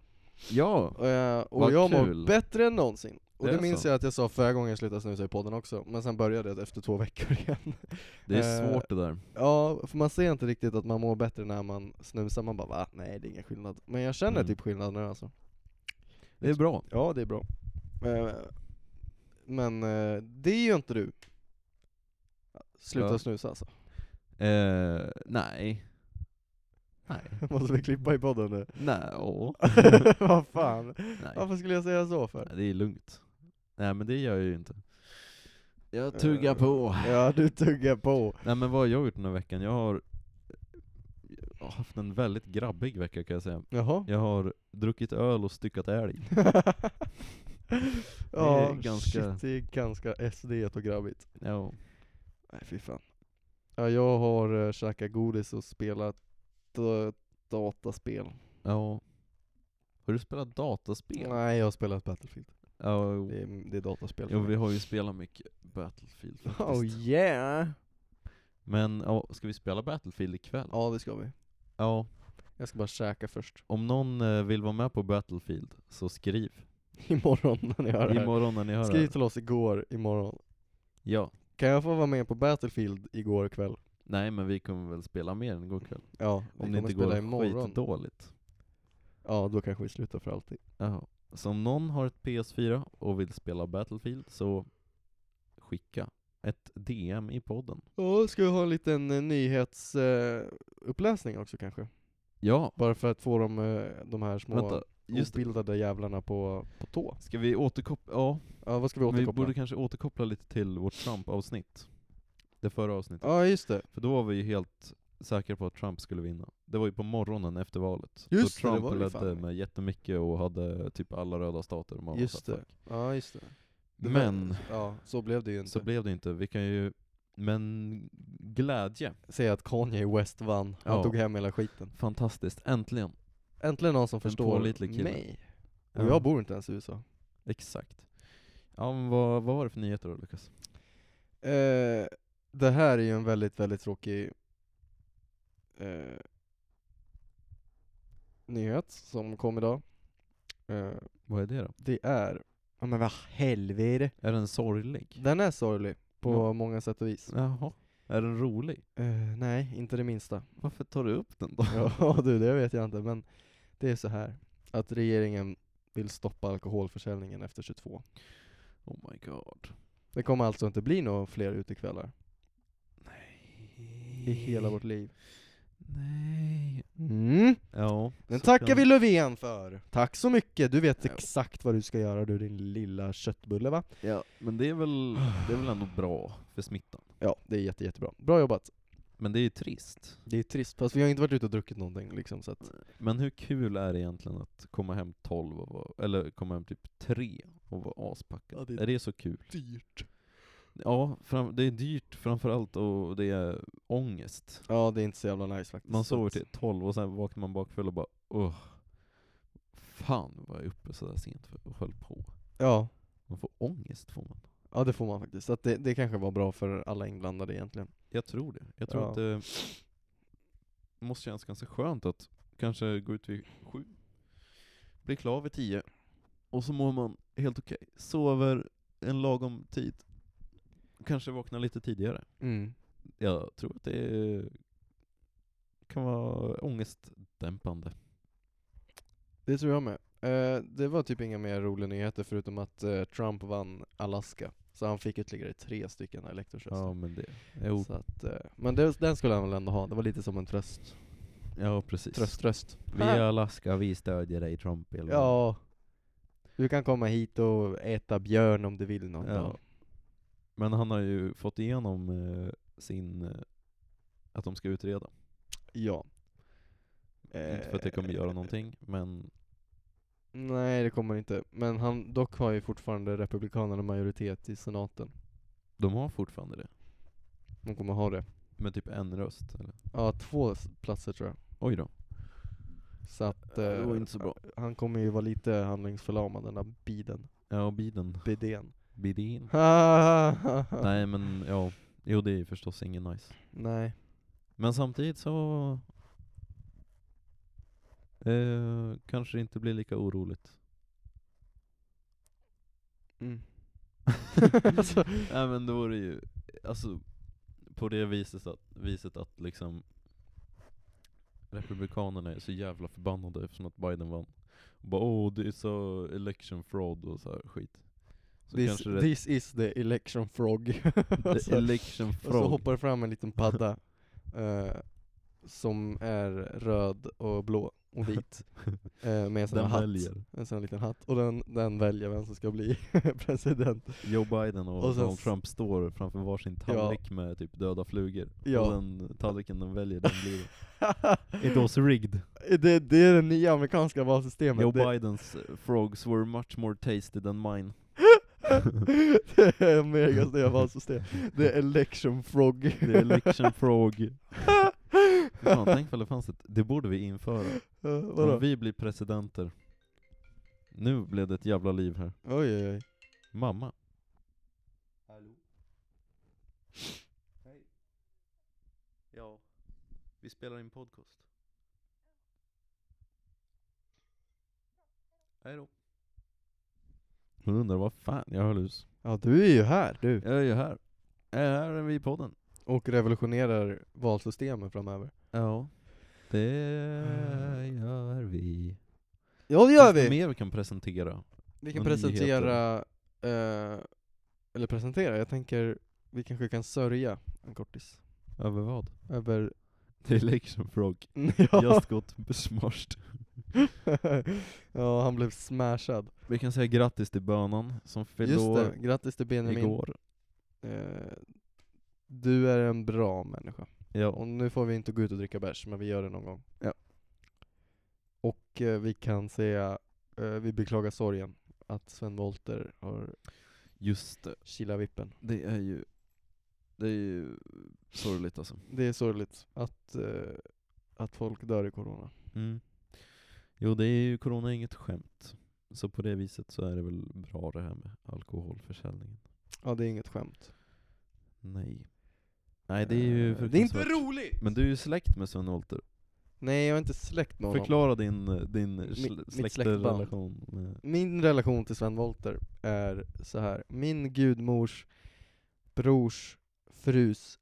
[SPEAKER 1] Ja!
[SPEAKER 2] Eh, och
[SPEAKER 1] Vad
[SPEAKER 2] jag
[SPEAKER 1] kul.
[SPEAKER 2] mår bättre än någonsin. Och
[SPEAKER 1] Det
[SPEAKER 2] det,
[SPEAKER 1] är
[SPEAKER 2] minns
[SPEAKER 1] så.
[SPEAKER 2] jag att jag sa förra gången jag slutade snusa i podden också, men sen började jag efter två veckor igen.
[SPEAKER 1] Det är
[SPEAKER 2] Eh,
[SPEAKER 1] svårt det där.
[SPEAKER 2] ja, för man ser inte riktigt att man mår bättre när man snusar, man bara va? Nej det är ingen skillnad. Men jag känner
[SPEAKER 1] Mm.
[SPEAKER 2] typ skillnad nu alltså.
[SPEAKER 1] Det är bra.
[SPEAKER 2] Ja det är bra. Eh, men eh, det är ju inte du. Sluta
[SPEAKER 1] Ja.
[SPEAKER 2] snusa alltså.
[SPEAKER 1] Eh, nej. Nej.
[SPEAKER 2] Måste vi klippa i podden nu?
[SPEAKER 1] Nej, åh.
[SPEAKER 2] Vad fan?
[SPEAKER 1] nej.
[SPEAKER 2] Varför skulle jag säga så för?
[SPEAKER 1] Nej, Det är lugnt. Nej men det gör jag ju inte. Jag tuggar
[SPEAKER 2] Eh,
[SPEAKER 1] på.
[SPEAKER 2] Ja, du tuggar på.
[SPEAKER 1] Nej men vad har jag gjort den här veckan? Jag har jag har haft en väldigt grabbig vecka kan jag säga.
[SPEAKER 2] Jaha.
[SPEAKER 1] Jag har druckit öl och styckat älg.
[SPEAKER 2] ja,
[SPEAKER 1] är ganska-
[SPEAKER 2] shit, det är ganska SD och grabbigt.
[SPEAKER 1] Ja.
[SPEAKER 2] Nej fy fan. Ja, jag har uh, käkat godis och spelat eh, dataspel.
[SPEAKER 1] ja. Har du spelat dataspel?
[SPEAKER 2] Nej, jag har spelat Battlefield.
[SPEAKER 1] Ja, jo.
[SPEAKER 2] Det är, det är dataspel. för
[SPEAKER 1] jo,
[SPEAKER 2] mig.
[SPEAKER 1] vi har ju spelat mycket Battlefield faktiskt.
[SPEAKER 2] Oh yeah!
[SPEAKER 1] Men ja, ska vi spela Battlefield ikväll?
[SPEAKER 2] Ja, det ska vi.
[SPEAKER 1] Ja.
[SPEAKER 2] Jag ska bara käka först.
[SPEAKER 1] Om någon eh, vill vara med på Battlefield, så skriv.
[SPEAKER 2] Imorgon när ni hör det här.
[SPEAKER 1] Imorgon när ni hör
[SPEAKER 2] Skriv
[SPEAKER 1] det.
[SPEAKER 2] till oss igår, imorgon.
[SPEAKER 1] Ja.
[SPEAKER 2] Kan jag få vara med på Battlefield igår kväll?
[SPEAKER 1] Nej men vi kommer väl spela mer än igår kväll.
[SPEAKER 2] Ja, vi
[SPEAKER 1] Om det
[SPEAKER 2] kommer
[SPEAKER 1] inte
[SPEAKER 2] spela
[SPEAKER 1] går
[SPEAKER 2] imorgon.
[SPEAKER 1] skitdåligt.
[SPEAKER 2] Ja, då kanske vi slutar för alltid.
[SPEAKER 1] Ja. Så om någon har ett PS4 och vill spela Battlefield, så skicka ett DM i podden.
[SPEAKER 2] Ja, ska vi ha en liten eh, nyhets eh, uppläsning också kanske?
[SPEAKER 1] Ja,
[SPEAKER 2] Bara för att få de, eh, de här små
[SPEAKER 1] vänta. Just det.
[SPEAKER 2] obildade jävlarna på, på tå.
[SPEAKER 1] Ska vi återkoppla? Ja.
[SPEAKER 2] Ja, vad ska vi
[SPEAKER 1] Vi
[SPEAKER 2] återkoppla?
[SPEAKER 1] borde kanske återkoppla lite till vårt Trump-avsnitt. Det förra avsnittet.
[SPEAKER 2] Ja, just det.
[SPEAKER 1] För då var vi ju helt säkra på att Trump skulle vinna. Det var ju på morgonen efter valet.
[SPEAKER 2] Just det,
[SPEAKER 1] då
[SPEAKER 2] det
[SPEAKER 1] Trump
[SPEAKER 2] var det ju
[SPEAKER 1] ledde
[SPEAKER 2] fan.
[SPEAKER 1] med jättemycket och hade typ alla röda stater. Man var
[SPEAKER 2] Just
[SPEAKER 1] så här,
[SPEAKER 2] det.
[SPEAKER 1] fuck.
[SPEAKER 2] Ja, just det. det var-
[SPEAKER 1] Men,
[SPEAKER 2] Ja, så blev det ju inte.
[SPEAKER 1] så blev det inte. Vi kan ju, men glädje.
[SPEAKER 2] Säga att Kanye West vann. Han
[SPEAKER 1] Ja.
[SPEAKER 2] tog hem hela skiten.
[SPEAKER 1] Fantastiskt. Äntligen.
[SPEAKER 2] Äntligen någon som förstår
[SPEAKER 1] pålitlig kille.
[SPEAKER 2] mig. Och
[SPEAKER 1] Ja,
[SPEAKER 2] jag bor inte ens i USA.
[SPEAKER 1] Exakt. Ja men vad, vad var det för nyheter då Lukas?
[SPEAKER 2] Eh, det här är ju en väldigt, väldigt tråkig eh, nyhet som kom idag. Eh,
[SPEAKER 1] Vad är det då?
[SPEAKER 2] det är, ja men vad helvete.
[SPEAKER 1] Är den sorglig?
[SPEAKER 2] Den är sorglig på
[SPEAKER 1] Ja.
[SPEAKER 2] många sätt och vis.
[SPEAKER 1] Jaha. Är den rolig?
[SPEAKER 2] Eh, nej, inte det minsta.
[SPEAKER 1] Varför tar du upp den då?
[SPEAKER 2] ja du, det vet jag inte. Men det är så här att regeringen vill stoppa alkoholförsäljningen efter 22.
[SPEAKER 1] Oh my god.
[SPEAKER 2] Det kommer alltså inte bli några fler utekvällar i hela vårt liv.
[SPEAKER 1] Nej.
[SPEAKER 2] Eh. Mm.
[SPEAKER 1] Ja.
[SPEAKER 2] Den
[SPEAKER 1] så
[SPEAKER 2] tackar
[SPEAKER 1] kan-
[SPEAKER 2] vi Löfven för! Tack så mycket, du vet
[SPEAKER 1] Ja.
[SPEAKER 2] exakt vad du ska göra du din lilla köttbulle va?
[SPEAKER 1] Ja, men det är väl, det är väl ändå bra för smittan.
[SPEAKER 2] Ja, det är jätte, jättebra. Bra jobbat.
[SPEAKER 1] Men det är ju trist.
[SPEAKER 2] Det är trist, fast vi har inte varit ute och druckit någonting liksom så att...
[SPEAKER 1] Men hur kul är det egentligen att komma hem 12 och vara, eller komma hem typ 3 och vara aspackad?
[SPEAKER 2] Ja, det är-
[SPEAKER 1] är... det så kul?
[SPEAKER 2] Dyrt.
[SPEAKER 1] Ja, fram, det är dyrt framförallt och det är ångest.
[SPEAKER 2] Ja, det är inte så jävla nice faktiskt.
[SPEAKER 1] Man
[SPEAKER 2] Så
[SPEAKER 1] sover
[SPEAKER 2] att-
[SPEAKER 1] till 12 och sen vaknar man bakfull och bara åh, fan vad jag är uppe sådär sent för och höll på.
[SPEAKER 2] Ja.
[SPEAKER 1] Man får ångest får man.
[SPEAKER 2] Ja, det får man faktiskt. Så att det, det kanske var bra för alla inblandade egentligen.
[SPEAKER 1] Jag tror det. Jag tror
[SPEAKER 2] Ja.
[SPEAKER 1] att det måste kännas ganska skönt att kanske gå ut vid sju, bli klar vid tio, och så mår man helt okej. Sover en lagom tid, kanske vaknar lite tidigare.
[SPEAKER 2] Mm.
[SPEAKER 1] Jag tror att det kan vara ångestdämpande.
[SPEAKER 2] Det tror jag med. Eh, det var typ inga mer roliga nyheter förutom att eh, Trump vann Alaska. Så han fick ytterligare tre stycken elektorsröster.
[SPEAKER 1] Ja men det, jo,
[SPEAKER 2] Så att, eh, men det, den skulle han väl ändå ha, det var lite som en tröst.
[SPEAKER 1] ja precis.
[SPEAKER 2] Tröst, tröst.
[SPEAKER 1] Vi i Alaska, vi stödjer dig Trump. eller vad?
[SPEAKER 2] Ja. Du kan komma hit och äta björn om du vill någon
[SPEAKER 1] Ja.
[SPEAKER 2] dag.
[SPEAKER 1] Men han har ju fått igenom eh, sin, eh, att de ska utreda.
[SPEAKER 2] Ja.
[SPEAKER 1] Inte för att det kommer göra någonting, men
[SPEAKER 2] Eh, Nej, det kommer inte. Men han, dock har ju fortfarande Republikanerna majoritet i senaten.
[SPEAKER 1] de har fortfarande det.
[SPEAKER 2] De kommer ha det.
[SPEAKER 1] Med typ en röst, eller?
[SPEAKER 2] Ja, två s- platser tror jag.
[SPEAKER 1] Oj då.
[SPEAKER 2] Så att
[SPEAKER 1] Ja, det var
[SPEAKER 2] eh,
[SPEAKER 1] inte så bra.
[SPEAKER 2] han kommer ju vara lite handlingsförlamad den där biden,
[SPEAKER 1] Ja, Biden.
[SPEAKER 2] bidén.
[SPEAKER 1] Bidin.
[SPEAKER 2] Nej.
[SPEAKER 1] Nej men ja, jo det är ju förstås ingen nice.
[SPEAKER 2] Nej.
[SPEAKER 1] Men samtidigt så eh, kanske det inte blir lika oroligt.
[SPEAKER 2] Mm.
[SPEAKER 1] alltså. Nej men då är det ju, alltså på det viset att, viset att liksom Republikanerna är så jävla förbannade eftersom att Biden vann. Och bara åh det är så election fraud och så här skit. Så
[SPEAKER 2] This,
[SPEAKER 1] kanske det, alltså,
[SPEAKER 2] this is the election frog. Alltså,
[SPEAKER 1] the election
[SPEAKER 2] och så
[SPEAKER 1] fraud.
[SPEAKER 2] hoppar det fram en liten padda eh, som är röd och blå och vit eh, med en sån här
[SPEAKER 1] Den
[SPEAKER 2] hatt.
[SPEAKER 1] väljer.
[SPEAKER 2] En sån här liten hatt. Och den, den väljer vem som ska bli president.
[SPEAKER 1] Joe Biden och,
[SPEAKER 2] Och sen
[SPEAKER 1] Donald
[SPEAKER 2] s-
[SPEAKER 1] Trump står framför varsin
[SPEAKER 2] Ja.
[SPEAKER 1] tallrik med typ döda flugor.
[SPEAKER 2] Ja.
[SPEAKER 1] Och den tallriken de väljer, den blir It was rigged.
[SPEAKER 2] det, det är det nya amerikanska valsystemet.
[SPEAKER 1] Joe
[SPEAKER 2] det,
[SPEAKER 1] Bidens frogs were much more tasty than mine.
[SPEAKER 2] det är Amerikas nya valsystem. Det är election frog.
[SPEAKER 1] The election frog. Fy Fan, tänk ifall det fanns ett, det borde vi införa.
[SPEAKER 2] Eh,
[SPEAKER 1] Om
[SPEAKER 2] Vadå?
[SPEAKER 1] vi blir presidenter. Nu blev det ett jävla liv här.
[SPEAKER 2] Oj oj oj.
[SPEAKER 1] Mamma. Hallå? Hej. Ja, vi spelar in podcast. Hej då. Hon undrar vad fan jag höll hus.
[SPEAKER 2] Ja du är ju här du.
[SPEAKER 1] Jag är ju här. Jag är här vid podden.
[SPEAKER 2] Och revolutionerar valsystemet framöver.
[SPEAKER 1] Ja. Det gör vi.
[SPEAKER 2] Ja Eh. det gör
[SPEAKER 1] Finns det
[SPEAKER 2] vi!
[SPEAKER 1] mer vi kan presentera?
[SPEAKER 2] Vi kan
[SPEAKER 1] Och nyheter.
[SPEAKER 2] presentera, eh, eller presentera, jag tänker vi kanske kan sörja en kortis.
[SPEAKER 1] Över vad?
[SPEAKER 2] Över,
[SPEAKER 1] The election frog.
[SPEAKER 2] ja,
[SPEAKER 1] Just got besmashed.
[SPEAKER 2] ja han blev smashad.
[SPEAKER 1] Vi kan säga grattis till bönan som fyllde
[SPEAKER 2] Just det,
[SPEAKER 1] år
[SPEAKER 2] grattis till Benjamin.
[SPEAKER 1] igår.
[SPEAKER 2] Eh, du är en bra människa.
[SPEAKER 1] Ja.
[SPEAKER 2] Och nu får vi inte gå ut och dricka bärs, men vi gör det någon gång.
[SPEAKER 1] Ja.
[SPEAKER 2] Och eh, vi kan säga, eh, vi beklagar sorgen att Sven Wollter har
[SPEAKER 1] Just det.
[SPEAKER 2] kilat vippen.
[SPEAKER 1] Det är ju, det är ju sorgligt alltså.
[SPEAKER 2] Det är sorgligt att, eh, att folk dör i corona.
[SPEAKER 1] Mm. Jo, det är ju corona är inget skämt. Så på det viset så är det väl bra det här med alkoholförsäljningen.
[SPEAKER 2] Ja, det är inget skämt.
[SPEAKER 1] Nej. Nej, det är ju
[SPEAKER 2] Eh, Det är inte
[SPEAKER 1] fruktansvärt.
[SPEAKER 2] roligt!
[SPEAKER 1] Men du är ju släkt med Sven Wollter.
[SPEAKER 2] Nej, jag är inte släkt med honom.
[SPEAKER 1] Förklara din, eh, din
[SPEAKER 2] Mi-
[SPEAKER 1] sl-
[SPEAKER 2] mitt
[SPEAKER 1] släktrelation med...
[SPEAKER 2] Min relation till Sven Wollter är så här. Min gudmors brors frus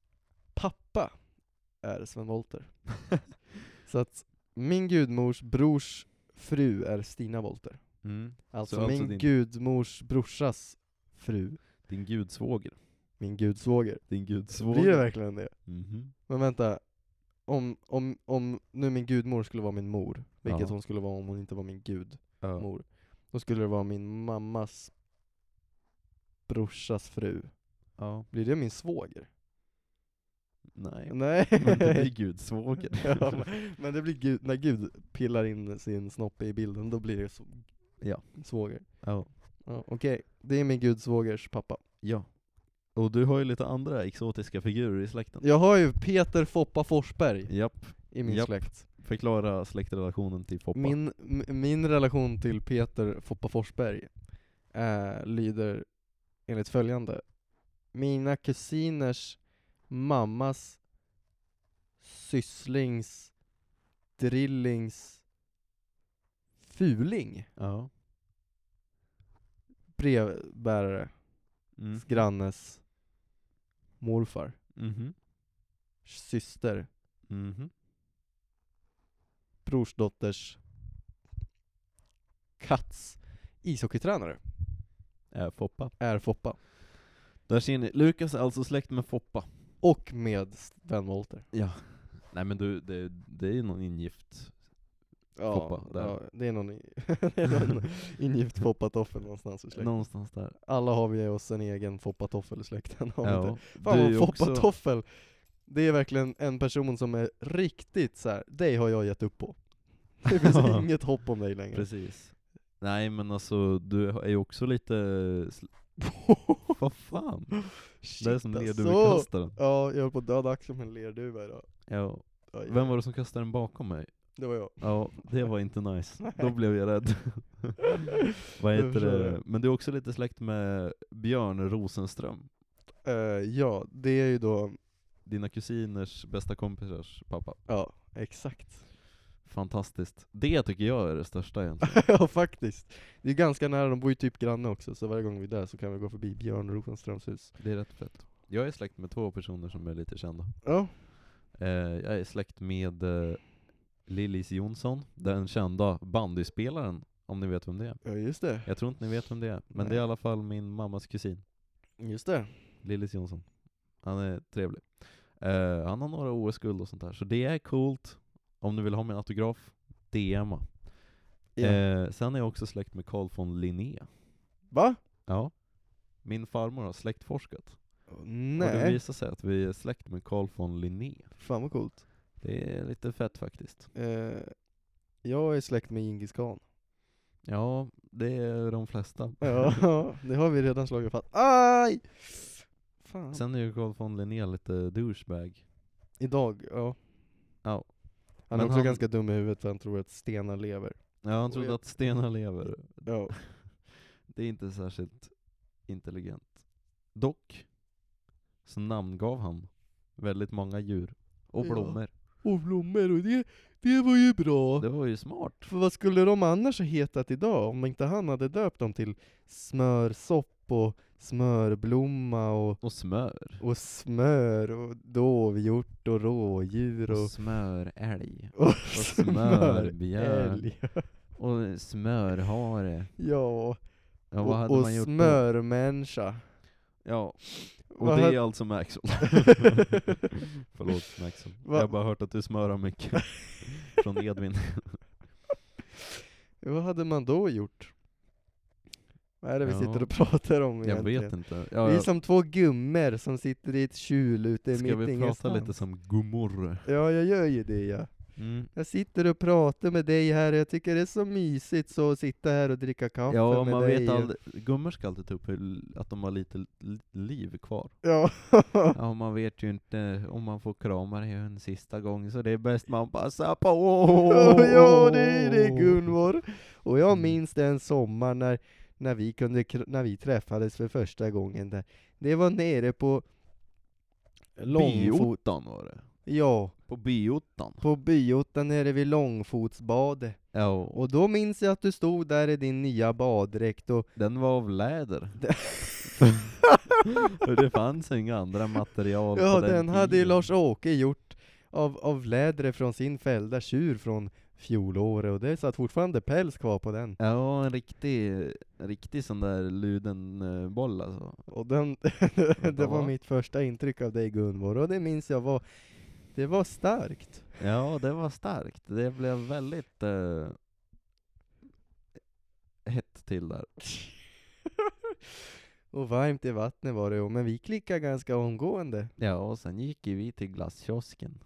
[SPEAKER 2] pappa är Sven Wollter. så att min gudmors brors fru är Stina Wollter.
[SPEAKER 1] Mm.
[SPEAKER 2] Alltså,
[SPEAKER 1] alltså
[SPEAKER 2] min
[SPEAKER 1] din-
[SPEAKER 2] gudmors brorsas fru,
[SPEAKER 1] Din gudsvåger.
[SPEAKER 2] min gudsvåger.
[SPEAKER 1] Din gudsvåger.
[SPEAKER 2] Blir det verkligen det?
[SPEAKER 1] Mhm.
[SPEAKER 2] Men vänta, om, om, om nu min gudmor skulle vara min mor, vilket
[SPEAKER 1] Ja.
[SPEAKER 2] hon skulle vara om hon inte var min gudmor,
[SPEAKER 1] Ja.
[SPEAKER 2] då skulle det vara min mammas brorsas fru.
[SPEAKER 1] ja.
[SPEAKER 2] Blir det min svåger?
[SPEAKER 1] Nej.
[SPEAKER 2] Nej.
[SPEAKER 1] Men det blir gudsvåger.
[SPEAKER 2] ja, men, men det blir gud, när Gud pillar in sin snoppe i bilden, då blir det så,
[SPEAKER 1] Ja.
[SPEAKER 2] svåger.
[SPEAKER 1] ja.
[SPEAKER 2] Ja, Okej, det är min gudsvågers pappa.
[SPEAKER 1] ja. Och du har ju lite andra exotiska figurer i släkten.
[SPEAKER 2] Jag har ju Peter Foppa Forsberg
[SPEAKER 1] Japp.
[SPEAKER 2] i min
[SPEAKER 1] Japp.
[SPEAKER 2] släkt.
[SPEAKER 1] Förklara släktrelationen till Foppa.
[SPEAKER 2] Min, m- min relation till Peter Foppa Forsberg eh, lyder enligt följande. Mina kusiners mammas sysslings drillings fuling
[SPEAKER 1] Ja.
[SPEAKER 2] brevbärare
[SPEAKER 1] Mm.
[SPEAKER 2] grannes morfar
[SPEAKER 1] Mhm.
[SPEAKER 2] syster
[SPEAKER 1] Mhm.
[SPEAKER 2] brorsdotters katts ishockeytränare
[SPEAKER 1] Är Äh, Foppa.
[SPEAKER 2] är Foppa.
[SPEAKER 1] Där ser ni, Lukas är alltså släkt med Foppa.
[SPEAKER 2] Och med Sven Wollter.
[SPEAKER 1] Ja. Nej men du, det, det är ju någon ingift.
[SPEAKER 2] Ja,
[SPEAKER 1] Foppa, där.
[SPEAKER 2] ja, det är någon, i- det är någon ingift foppatoffel någonstans i släkten.
[SPEAKER 1] Någonstans där.
[SPEAKER 2] Alla har vi oss en egen foppatoffel i släkten. har vi inte?
[SPEAKER 1] Du är
[SPEAKER 2] Fan
[SPEAKER 1] ju
[SPEAKER 2] vad
[SPEAKER 1] också-
[SPEAKER 2] foppatoffel, det är verkligen en person som är riktigt så här. dig har jag gett upp på. Det finns
[SPEAKER 1] Ja.
[SPEAKER 2] inget hopp om dig längre.
[SPEAKER 1] Precis. Nej men alltså, du är ju också lite... sl- Vad fan?
[SPEAKER 2] Shit,
[SPEAKER 1] Det är som
[SPEAKER 2] alltså.
[SPEAKER 1] lerduvekastaren.
[SPEAKER 2] Ja, jag höll på att döda axeln med en lerduva idag.
[SPEAKER 1] Ja.
[SPEAKER 2] Aj,
[SPEAKER 1] Vem var det som kastade den bakom mig?
[SPEAKER 2] Det var jag.
[SPEAKER 1] Ja, det var inte nice. Då blev jag rädd. Vad
[SPEAKER 2] Jag
[SPEAKER 1] heter
[SPEAKER 2] förstår
[SPEAKER 1] det?
[SPEAKER 2] det.
[SPEAKER 1] Men du är också lite släkt med Björn Rosenström,
[SPEAKER 2] Eh, ja, det är ju då,
[SPEAKER 1] dina kusiners bästa kompisars pappa.
[SPEAKER 2] ja, exakt.
[SPEAKER 1] Fantastiskt. Det tycker jag är det största egentligen.
[SPEAKER 2] ja, faktiskt. Det är ganska nära, de bor ju typ granne också, så varje gång vi är där så kan vi gå förbi Björn Rosenströms hus.
[SPEAKER 1] Det är rätt fett. Jag är släkt med två personer som är lite kända.
[SPEAKER 2] Ja,
[SPEAKER 1] Eh, jag är släkt med eh, Lillis Jonsson, den kända bandyspelaren, om ni vet vem det är.
[SPEAKER 2] ja just det.
[SPEAKER 1] Jag tror inte ni vet vem det är, men det är i
[SPEAKER 2] Nej.
[SPEAKER 1] alla fall min mammas kusin,
[SPEAKER 2] Just det.
[SPEAKER 1] Lillis Jonsson. Han är trevlig. Eh, han har några OS-guld och sånt där, så det är coolt. Om du vill ha min autograf, DMa.
[SPEAKER 2] Ja.
[SPEAKER 1] Eh, sen är jag också släkt med Carl von Linné.
[SPEAKER 2] Va?
[SPEAKER 1] Ja. Min farmor har släktforskat. Och det
[SPEAKER 2] Nej.
[SPEAKER 1] visar sig att vi är släkt med Carl von Linné.
[SPEAKER 2] Fan vad coolt.
[SPEAKER 1] Det är lite fett faktiskt.
[SPEAKER 2] Eh, jag är släkt med Djingis khan.
[SPEAKER 1] Ja, det är de flesta.
[SPEAKER 2] Ja, det har vi redan slagit fast. Aj! Fan.
[SPEAKER 1] Sen är ju Carl von Linné lite douchebag.
[SPEAKER 2] Idag, ja.
[SPEAKER 1] Ja.
[SPEAKER 2] Han är
[SPEAKER 1] Men
[SPEAKER 2] också
[SPEAKER 1] han-
[SPEAKER 2] ganska dum i huvudet för han tror att stenar lever.
[SPEAKER 1] Ja, han
[SPEAKER 2] Och
[SPEAKER 1] trodde
[SPEAKER 2] jag-
[SPEAKER 1] att stenar lever.
[SPEAKER 2] Ja.
[SPEAKER 1] Det är inte särskilt intelligent. Dock, så namngav han väldigt många djur. Och
[SPEAKER 2] Ja.
[SPEAKER 1] blommor.
[SPEAKER 2] Och blommor, och det, det var ju bra.
[SPEAKER 1] Det var ju smart.
[SPEAKER 2] För vad skulle de annars ha hetat idag om inte han hade döpt dem till smörsopp och smörblomma och,
[SPEAKER 1] Och smör.
[SPEAKER 2] och smör och dovhjort och rådjur och,
[SPEAKER 1] Och smörälg.
[SPEAKER 2] och,
[SPEAKER 1] smörbjörn.
[SPEAKER 2] smörälg.
[SPEAKER 1] Och smörhare.
[SPEAKER 2] Ja,
[SPEAKER 1] Ja, vad
[SPEAKER 2] och,
[SPEAKER 1] hade
[SPEAKER 2] och
[SPEAKER 1] man gjort då?
[SPEAKER 2] smörmänniska.
[SPEAKER 1] Ja, och
[SPEAKER 2] Vad
[SPEAKER 1] det
[SPEAKER 2] hade-
[SPEAKER 1] är alltså Maxwell. Förlåt Maxwell.
[SPEAKER 2] Va-
[SPEAKER 1] Jag har bara hört att du smörar mycket. Från Edvin.
[SPEAKER 2] Vad hade man då gjort? Vad är det vi
[SPEAKER 1] Ja.
[SPEAKER 2] sitter och pratar om
[SPEAKER 1] Jag
[SPEAKER 2] egentligen?
[SPEAKER 1] vet inte. Ja,
[SPEAKER 2] Vi är
[SPEAKER 1] ja.
[SPEAKER 2] som två gummor som sitter i ett kjul ute i
[SPEAKER 1] Ska
[SPEAKER 2] mitt
[SPEAKER 1] vi prata
[SPEAKER 2] ingenstans.
[SPEAKER 1] lite som gummor?
[SPEAKER 2] Ja, jag gör ju det ja.
[SPEAKER 1] Mm.
[SPEAKER 2] Jag sitter och pratar med dig här och jag tycker det är så mysigt så att sitta här och dricka kaffe
[SPEAKER 1] Ja,
[SPEAKER 2] med
[SPEAKER 1] man
[SPEAKER 2] dig.
[SPEAKER 1] vet
[SPEAKER 2] och-
[SPEAKER 1] aldrig. Gummor ska alltid ta upp hur l- att de har lite l- liv kvar.
[SPEAKER 2] Ja.
[SPEAKER 1] Ja, man vet ju inte om man får krama dig en sista gång, så det är bäst man passar på.
[SPEAKER 2] ja, det är det Gunvor. Och jag
[SPEAKER 1] Mm.
[SPEAKER 2] minns den sommar när, när, vi kunde, kr- när vi träffades för första gången där. Det var nere på Långfot.
[SPEAKER 1] Biottan var det.
[SPEAKER 2] Ja,
[SPEAKER 1] På biottan.
[SPEAKER 2] på Byottan nere vid Långfotsbadet.
[SPEAKER 1] Ja, och
[SPEAKER 2] Och då minns jag att du stod där i din nya baddräkt och
[SPEAKER 1] den var av läder. och det fanns inga andra material
[SPEAKER 2] Ja,
[SPEAKER 1] på
[SPEAKER 2] den,
[SPEAKER 1] den
[SPEAKER 2] hade ju
[SPEAKER 1] tiden.
[SPEAKER 2] Lars-Åke gjort av, av läder från sin fällda tjur från fjolåret och det satt fortfarande päls kvar på den.
[SPEAKER 1] Ja, en riktig, en riktig sån där luden eh, boll alltså.
[SPEAKER 2] Och den, det
[SPEAKER 1] Vänta,
[SPEAKER 2] var
[SPEAKER 1] va?
[SPEAKER 2] mitt första intryck av dig Gunvor och det minns jag var, det var starkt.
[SPEAKER 1] Ja, det var starkt. Det blev väldigt eh, hett till där.
[SPEAKER 2] Och varmt i vattnet var det ju, men vi klickade ganska omgående.
[SPEAKER 1] Ja, och sen gick ju vi till glasskiosken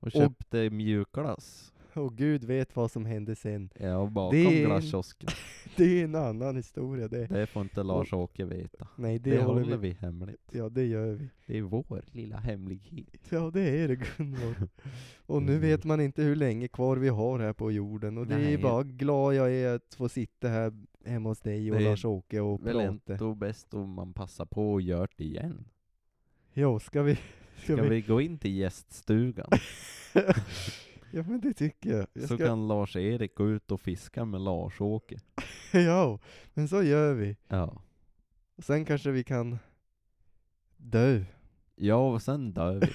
[SPEAKER 1] och
[SPEAKER 2] Och-
[SPEAKER 1] köpte mjukglass.
[SPEAKER 2] Och gud vet vad som hände sen.
[SPEAKER 1] Ja, bakom
[SPEAKER 2] Det är-
[SPEAKER 1] glasskiosken.
[SPEAKER 2] Det är en annan historia det.
[SPEAKER 1] Det får inte Lars-Åke veta.
[SPEAKER 2] Nej,
[SPEAKER 1] Det,
[SPEAKER 2] det,
[SPEAKER 1] håller vi. hemligt.
[SPEAKER 2] Ja, det gör vi.
[SPEAKER 1] Det är vår lilla hemlighet.
[SPEAKER 2] Ja, det är det Gunvor. Och nu vet man inte hur länge kvar vi har här på jorden och det
[SPEAKER 1] Mm. Nej.
[SPEAKER 2] är bara glad jag är att få sitta här hemma hos dig och
[SPEAKER 1] Det är
[SPEAKER 2] Lars-Åke och
[SPEAKER 1] Väl
[SPEAKER 2] prata.
[SPEAKER 1] ändå bäst om man passar på och gör det igen.
[SPEAKER 2] Ja, ska vi? Ska
[SPEAKER 1] Ska
[SPEAKER 2] vi?
[SPEAKER 1] vi gå in till gäststugan?
[SPEAKER 2] Ja, men det tycker jag. jag
[SPEAKER 1] Så
[SPEAKER 2] ska...
[SPEAKER 1] kan Lars-Erik gå ut och fiska med Lars-Åke.
[SPEAKER 2] Ja, men så gör vi.
[SPEAKER 1] Ja.
[SPEAKER 2] Och sen kanske vi kan dö.
[SPEAKER 1] Ja, och sen dör vi.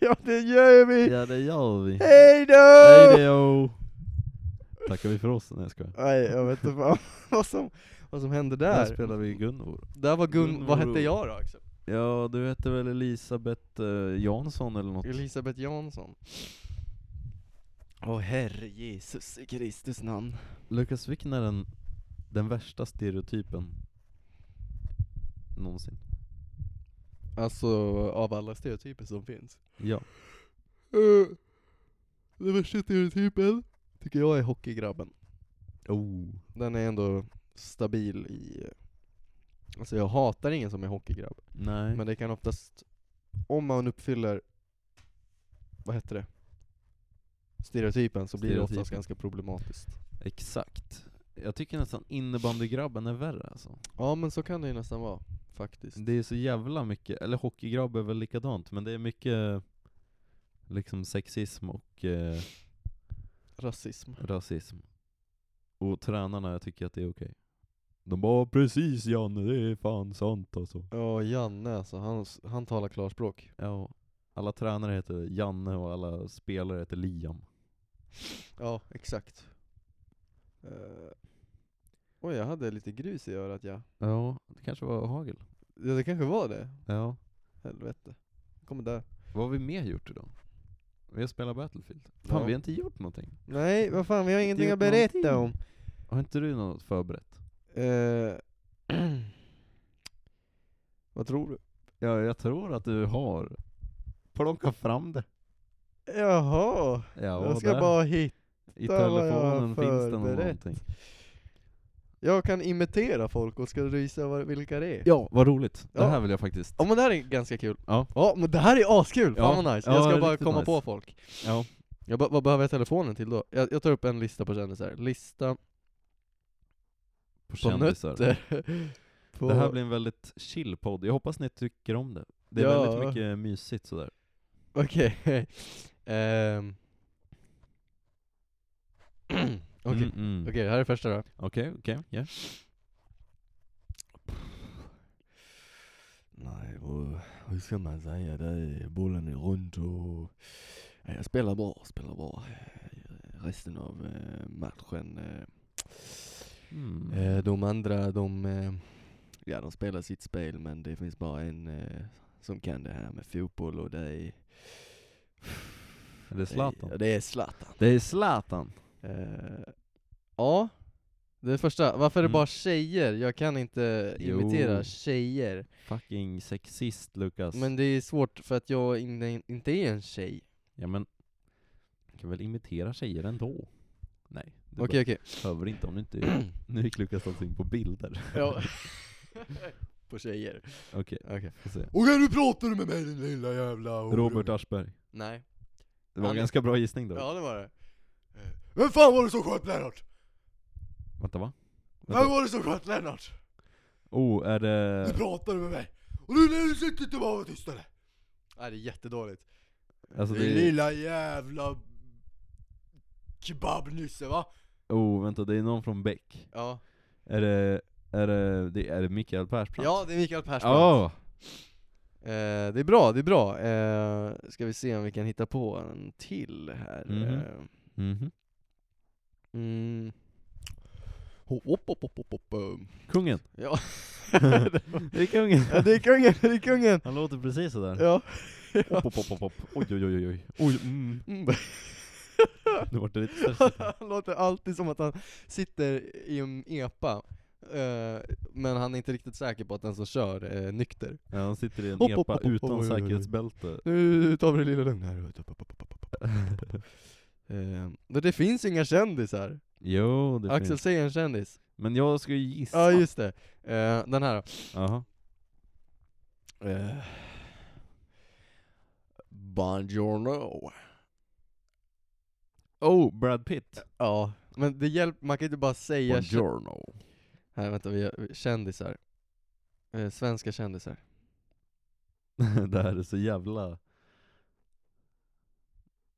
[SPEAKER 2] ja, det gör vi!
[SPEAKER 1] Ja, det gör vi.
[SPEAKER 2] Hej då!
[SPEAKER 1] Hej då! Tackar vi för oss? Nej, jag skojar.
[SPEAKER 2] Nej, jag vet inte fan vad som, vad som hände
[SPEAKER 1] Där
[SPEAKER 2] där.
[SPEAKER 1] spelar vi Gunvor.
[SPEAKER 2] Där var Gun...
[SPEAKER 1] Gunvor
[SPEAKER 2] Vad
[SPEAKER 1] och-
[SPEAKER 2] hette jag då Axel?
[SPEAKER 1] Ja, du heter väl Elisabeth eh, Jansson eller något?
[SPEAKER 2] Elisabeth Jansson. Åh herre Jesus i Kristus namn.
[SPEAKER 1] Lukas Wickner är den, den värsta stereotypen någonsin.
[SPEAKER 2] Alltså av alla stereotyper som finns.
[SPEAKER 1] Ja.
[SPEAKER 2] Uh, den värsta stereotypen tycker jag är hockeygrabben.
[SPEAKER 1] Oh.
[SPEAKER 2] Den är ändå stabil i... Alltså jag hatar ingen som är hockeygrabb.
[SPEAKER 1] Nej.
[SPEAKER 2] Men det kan oftast, om man uppfyller, vad heter det? stereotypen så blir det oftast
[SPEAKER 1] Stereotypen.
[SPEAKER 2] ganska problematiskt.
[SPEAKER 1] Exakt. Jag tycker nästan innebandygrabben är värre alltså.
[SPEAKER 2] Ja men så kan det ju nästan vara, faktiskt.
[SPEAKER 1] Det är så jävla mycket, eller hockeygrabb är väl likadant, men det är mycket liksom sexism och eh,
[SPEAKER 2] Rasism.
[SPEAKER 1] rasism. Och tränarna tycker att det är okej. De bara 'precis Janne, det är fan sant alltså'
[SPEAKER 2] Ja, Janne alltså, han, han talar klarspråk.
[SPEAKER 1] Ja, alla tränare heter Janne och alla spelare heter Liam.
[SPEAKER 2] Ja, exakt. Eh, oj, jag hade lite grus i örat ja.
[SPEAKER 1] Ja, det kanske var hagel.
[SPEAKER 2] Ja, det kanske var det.
[SPEAKER 1] Ja.
[SPEAKER 2] Helvete. Kommer där.
[SPEAKER 1] Vad har vi mer gjort idag? Vi har spelat Battlefield. Fan,
[SPEAKER 2] Ja.
[SPEAKER 1] vi har inte gjort någonting.
[SPEAKER 2] Nej, vad fan, vi har ingenting
[SPEAKER 1] gjort
[SPEAKER 2] att berätta om.
[SPEAKER 1] någonting. Har inte du något förberett?
[SPEAKER 2] Eh, vad tror du?
[SPEAKER 1] Ja, jag tror att du har. Plocka fram det.
[SPEAKER 2] Jaha,
[SPEAKER 1] Ja,
[SPEAKER 2] jag ska
[SPEAKER 1] där.
[SPEAKER 2] bara hitta.
[SPEAKER 1] I
[SPEAKER 2] vad jag har
[SPEAKER 1] telefonen finns det nog
[SPEAKER 2] förberett.
[SPEAKER 1] någonting.
[SPEAKER 2] Jag kan imitera folk och ska du gissa vad- vilka det är?
[SPEAKER 1] Ja, vad roligt. Det
[SPEAKER 2] Ja.
[SPEAKER 1] här vill jag faktiskt.
[SPEAKER 2] Ja men det här är ganska kul.
[SPEAKER 1] Ja.
[SPEAKER 2] Ja men det här är askul,
[SPEAKER 1] Ja.
[SPEAKER 2] fan vad nice.
[SPEAKER 1] Ja,
[SPEAKER 2] Jag ska
[SPEAKER 1] det är
[SPEAKER 2] bara
[SPEAKER 1] riktigt
[SPEAKER 2] komma
[SPEAKER 1] nice.
[SPEAKER 2] på folk.
[SPEAKER 1] Ja.
[SPEAKER 2] Jag bara- vad behöver jag telefonen till då? Jag, jag tar upp en lista på kändisar. Lista
[SPEAKER 1] På
[SPEAKER 2] på
[SPEAKER 1] kändisar.
[SPEAKER 2] nötter. på...
[SPEAKER 1] Det här blir en väldigt chill podd. Jag hoppas ni tycker om det. Det är
[SPEAKER 2] Ja.
[SPEAKER 1] väldigt mycket mysigt sådär.
[SPEAKER 2] Okej. Ehm. Okej, okej
[SPEAKER 1] Mm, mm.
[SPEAKER 2] det här är första då.
[SPEAKER 1] Okej, okej. ja.
[SPEAKER 5] Nej, och hur ska man säga det? Bollen är runt och eh, jag spelar bra, spelar bra. Eh, Resten av eh, matchen, eh,
[SPEAKER 1] Mm.
[SPEAKER 2] Eh, de andra, de... Eh,
[SPEAKER 5] ja de spelar sitt spel men det finns bara en eh, som kan det här med fotboll och det är...
[SPEAKER 1] Är det Zlatan?
[SPEAKER 5] Ja, det är Zlatan.
[SPEAKER 1] Det är Zlatan.
[SPEAKER 2] eh, ja. Det är första. Varför är det
[SPEAKER 1] Mm.
[SPEAKER 2] bara tjejer? Jag kan inte imitera
[SPEAKER 1] Jo.
[SPEAKER 2] tjejer.
[SPEAKER 1] Fucking sexist Lukas.
[SPEAKER 2] Men det är svårt för att jag in, inte är en tjej.
[SPEAKER 1] Ja men, du kan väl imitera tjejer ändå? Nej, du
[SPEAKER 2] Okej okej.
[SPEAKER 1] behöver inte om du inte... nu gick Lukas alltså in på bilder.
[SPEAKER 2] Ja. på tjejer.
[SPEAKER 1] Okej,
[SPEAKER 2] Okej.
[SPEAKER 1] får se.
[SPEAKER 5] Och kan du prata med mig din lilla jävla hora?
[SPEAKER 1] Robert Aschberg.
[SPEAKER 2] Nej.
[SPEAKER 1] Det var
[SPEAKER 2] Han-
[SPEAKER 1] en ganska bra gissning då.
[SPEAKER 2] Ja det var det.
[SPEAKER 5] Eh, Vem fan var det som sköt Lennart?
[SPEAKER 1] Vänta va?
[SPEAKER 5] Vem
[SPEAKER 1] Vänta.
[SPEAKER 5] var det som sköt Lennart?
[SPEAKER 1] Oh, är
[SPEAKER 5] Du
[SPEAKER 1] det...
[SPEAKER 5] pratade med mig. Och nu när du sitter inte bara och tystare.
[SPEAKER 2] Nej det är jättedåligt.
[SPEAKER 1] Alltså
[SPEAKER 5] Din
[SPEAKER 1] det är...
[SPEAKER 5] lilla jävla kebabnysse va?
[SPEAKER 1] Oh, vänta, det är någon från Beck.
[SPEAKER 2] Ja.
[SPEAKER 1] Är det... Är det, det, är det Mikael Persbrandt?
[SPEAKER 2] Ja det är Mikael Persbrandt.
[SPEAKER 1] Ja!
[SPEAKER 2] Eh, det är bra, det är bra. Eh, ska vi se om vi kan hitta på en till här.
[SPEAKER 1] Mhm.
[SPEAKER 2] Eh,
[SPEAKER 1] Mhm.
[SPEAKER 2] mm. Hopp, hopp, hopp, hopp, hopp, hopp. eh.
[SPEAKER 1] Kungen.
[SPEAKER 2] Ja.
[SPEAKER 1] Det är kungen.
[SPEAKER 2] ja, det är kungen, det är kungen!
[SPEAKER 1] Han låter precis sådär.
[SPEAKER 2] Ja.
[SPEAKER 1] Hopp, hopp, hopp, hopp, hopp. Oj, oj, oj, oj. Oj, mm.
[SPEAKER 2] Mm.
[SPEAKER 1] Nu vart det lite stressigt. här.
[SPEAKER 2] han låter alltid som att han sitter i en epa, eh, men han är inte riktigt säker på att den som kör är nykter.
[SPEAKER 1] Ja, han sitter i en
[SPEAKER 2] Hopp, hopp,
[SPEAKER 1] epa
[SPEAKER 2] hopp, hopp,
[SPEAKER 1] utan
[SPEAKER 2] oj, oj, oj.
[SPEAKER 1] säkerhetsbälte.
[SPEAKER 2] Nu tar vi det lilla lugna här. Hopp, hopp, hopp, hopp, hopp. Eh, men det finns ju inga kändisar.
[SPEAKER 1] Jo, det
[SPEAKER 2] Axel,
[SPEAKER 1] finns.
[SPEAKER 2] säg en kändis.
[SPEAKER 1] Men jag ska ju gissa.
[SPEAKER 2] Ja just det. Eh, den här då.
[SPEAKER 1] Jaha.
[SPEAKER 5] Eh, Buongiorno.
[SPEAKER 1] Oh, Brad Pitt.
[SPEAKER 2] Ja. Men det hjälper, man kan inte bara säga kä-
[SPEAKER 5] Buongiorno.
[SPEAKER 2] Här vänta, vi gör, kändisar. Eh, svenska kändisar.
[SPEAKER 1] det här är så jävla...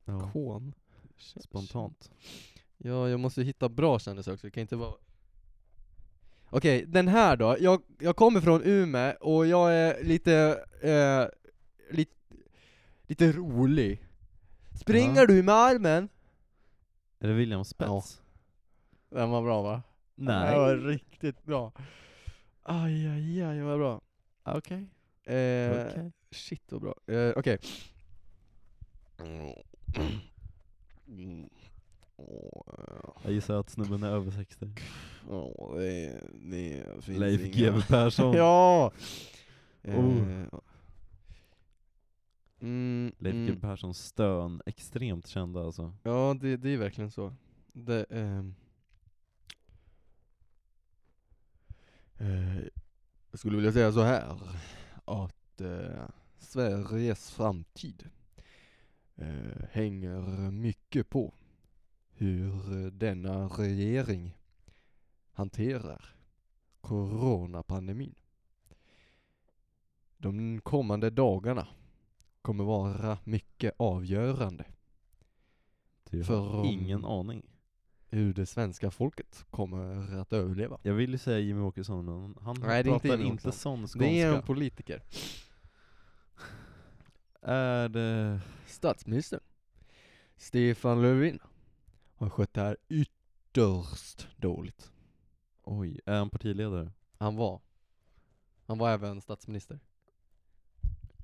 [SPEAKER 1] Ja,
[SPEAKER 2] Kon?
[SPEAKER 1] spontant.
[SPEAKER 2] Ja, jag måste ju hitta bra kändisar också, det kan inte vara... Okej, den här då. Jag, jag kommer från Umeå och jag är lite, eh, lite, lite rolig. Springer
[SPEAKER 1] Ja.
[SPEAKER 2] du med armen?
[SPEAKER 1] Är det William Spets?
[SPEAKER 2] Den var bra va? Den var
[SPEAKER 1] Nej.
[SPEAKER 2] riktigt bra. Aj, aj, aj vad bra. Ah,
[SPEAKER 1] Okej.
[SPEAKER 2] Eh,
[SPEAKER 1] Okej.
[SPEAKER 2] Shit vad bra. Eh, Okej,
[SPEAKER 5] Mm. Åh, eh,
[SPEAKER 1] Jag gissar att snubben är över 60.
[SPEAKER 5] åh, det, det finns
[SPEAKER 1] Leif
[SPEAKER 5] inga-
[SPEAKER 1] GW Persson.
[SPEAKER 2] ja! Eh,
[SPEAKER 1] Oh.
[SPEAKER 2] Mm,
[SPEAKER 1] Leif
[SPEAKER 2] mm.
[SPEAKER 1] GW Perssons stön. Extremt kända alltså.
[SPEAKER 2] Ja, det, det är verkligen så. Det, ehm.
[SPEAKER 5] Eh, Jag skulle vilja säga så här att eh, Sveriges framtid
[SPEAKER 2] eh, hänger mycket på hur eh, denna regering hanterar coronapandemin. De kommande dagarna kommer vara mycket avgörande
[SPEAKER 1] Jag
[SPEAKER 2] För
[SPEAKER 1] har
[SPEAKER 2] om-
[SPEAKER 1] Typ. ingen aning.
[SPEAKER 2] hur det svenska folket kommer att överleva.
[SPEAKER 1] Jag ville säga Jimmy Åkesson, men han
[SPEAKER 2] Nej, det är inte
[SPEAKER 1] pratar
[SPEAKER 2] Jimmy
[SPEAKER 1] inte
[SPEAKER 2] Åkesson.
[SPEAKER 1] sån skånska.
[SPEAKER 2] Det är en politiker.
[SPEAKER 1] Är det...
[SPEAKER 2] Statsministern Stefan Löfven har skött det här ytterst dåligt.
[SPEAKER 1] Oj, är han partiledare?
[SPEAKER 2] Han var. Han var även statsminister.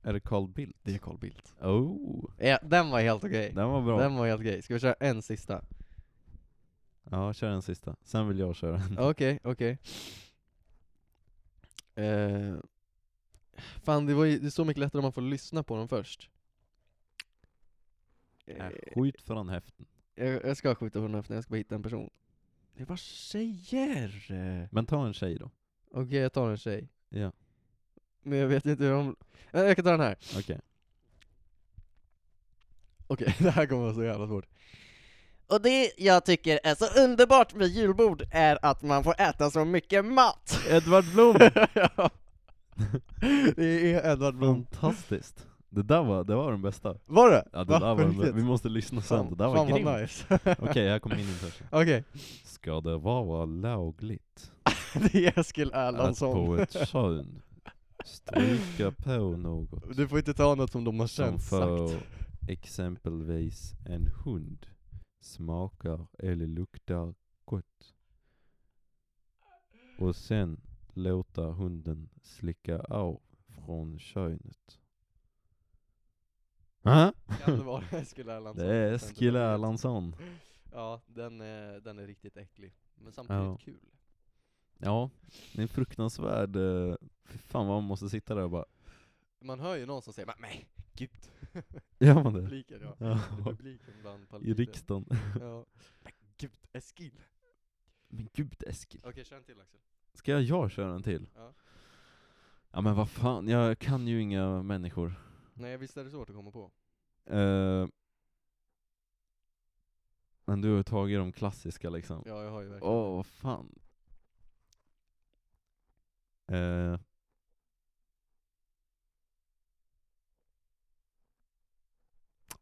[SPEAKER 1] Är det Carl Bildt?
[SPEAKER 2] Det är Carl Bildt.
[SPEAKER 1] Oh,
[SPEAKER 2] Ja, den var helt okej.
[SPEAKER 1] den var bra.
[SPEAKER 2] Den var helt okej. Ska vi köra en sista?
[SPEAKER 1] Ja, kör den sista. Sen vill jag köra en.
[SPEAKER 2] Okej, okej. Eh, fan, det var ju det är så mycket lättare om man får lyssna på dem först. Eh,
[SPEAKER 1] Äh, Skjut från häften.
[SPEAKER 2] jag, jag ska skjuta på den här, för jag ska bara hitta en person. Det var tjejer!
[SPEAKER 1] Men ta en tjej då.
[SPEAKER 2] Okej, jag tar en tjej.
[SPEAKER 1] Ja,
[SPEAKER 2] Men jag vet inte hur de... Eh, Jag kan ta den här.
[SPEAKER 1] okej.
[SPEAKER 2] Okej, det här kommer vara så jävla svårt.
[SPEAKER 6] Och det jag tycker är så underbart med julbord är att man får äta så mycket mat.
[SPEAKER 1] Edvard Blom!
[SPEAKER 2] Ja. det är Edvard Blom.
[SPEAKER 1] Fantastiskt. Det där var, det var den bästa.
[SPEAKER 2] Mm. Var det?
[SPEAKER 1] Ja, det där
[SPEAKER 2] Va? På
[SPEAKER 1] var den, bä-
[SPEAKER 2] riktigt?
[SPEAKER 1] vi måste lyssna sen, det där
[SPEAKER 2] Fan,
[SPEAKER 1] var
[SPEAKER 2] vad
[SPEAKER 1] grymt. Okej,
[SPEAKER 2] nice.
[SPEAKER 1] här kommer min intresse.
[SPEAKER 2] Okej,
[SPEAKER 1] Ska det vara lagligt
[SPEAKER 2] det är Eskil
[SPEAKER 1] att på
[SPEAKER 2] Erlandsson.
[SPEAKER 1] ett kön stryka på något
[SPEAKER 2] Du får inte ta något som de har
[SPEAKER 1] som
[SPEAKER 2] känt
[SPEAKER 1] för
[SPEAKER 2] sagt.
[SPEAKER 1] exempelvis en hund smakar eller luktar gott och sen låta hunden slicka av från könet. Aha.
[SPEAKER 2] Kan det vara Eskil Erlandsson?
[SPEAKER 1] Alltså, Det är
[SPEAKER 2] Jag vet inte.
[SPEAKER 1] Eskil Erlandsson.
[SPEAKER 2] Ja, den är, den är riktigt äcklig. Men samtidigt
[SPEAKER 1] Ja.
[SPEAKER 2] kul.
[SPEAKER 1] Ja, det är en fruktansvärd... eh, Fy fan vad man måste sitta där och bara...
[SPEAKER 2] Man hör ju någon som säger "Men, nej, gud.
[SPEAKER 1] Gör man det?
[SPEAKER 2] Publiken ja.
[SPEAKER 1] Ja.
[SPEAKER 2] Det är Publiken bland
[SPEAKER 1] I
[SPEAKER 2] palestinier.
[SPEAKER 1] riksdagen.
[SPEAKER 2] Ja. Men gud, Eskil.
[SPEAKER 1] Men gud Eskil.
[SPEAKER 2] Okej, kör en till Axel.
[SPEAKER 1] Ska jag, jag köra en till?
[SPEAKER 2] Ja.
[SPEAKER 1] Ja men vad fan, jag kan ju inga människor.
[SPEAKER 2] Nej, visst är det svårt att komma på?
[SPEAKER 1] Eh, men du har ju tagit de klassiska liksom.
[SPEAKER 2] Ja, jag har ju verkligen.
[SPEAKER 1] Åh, vad fan. Eh.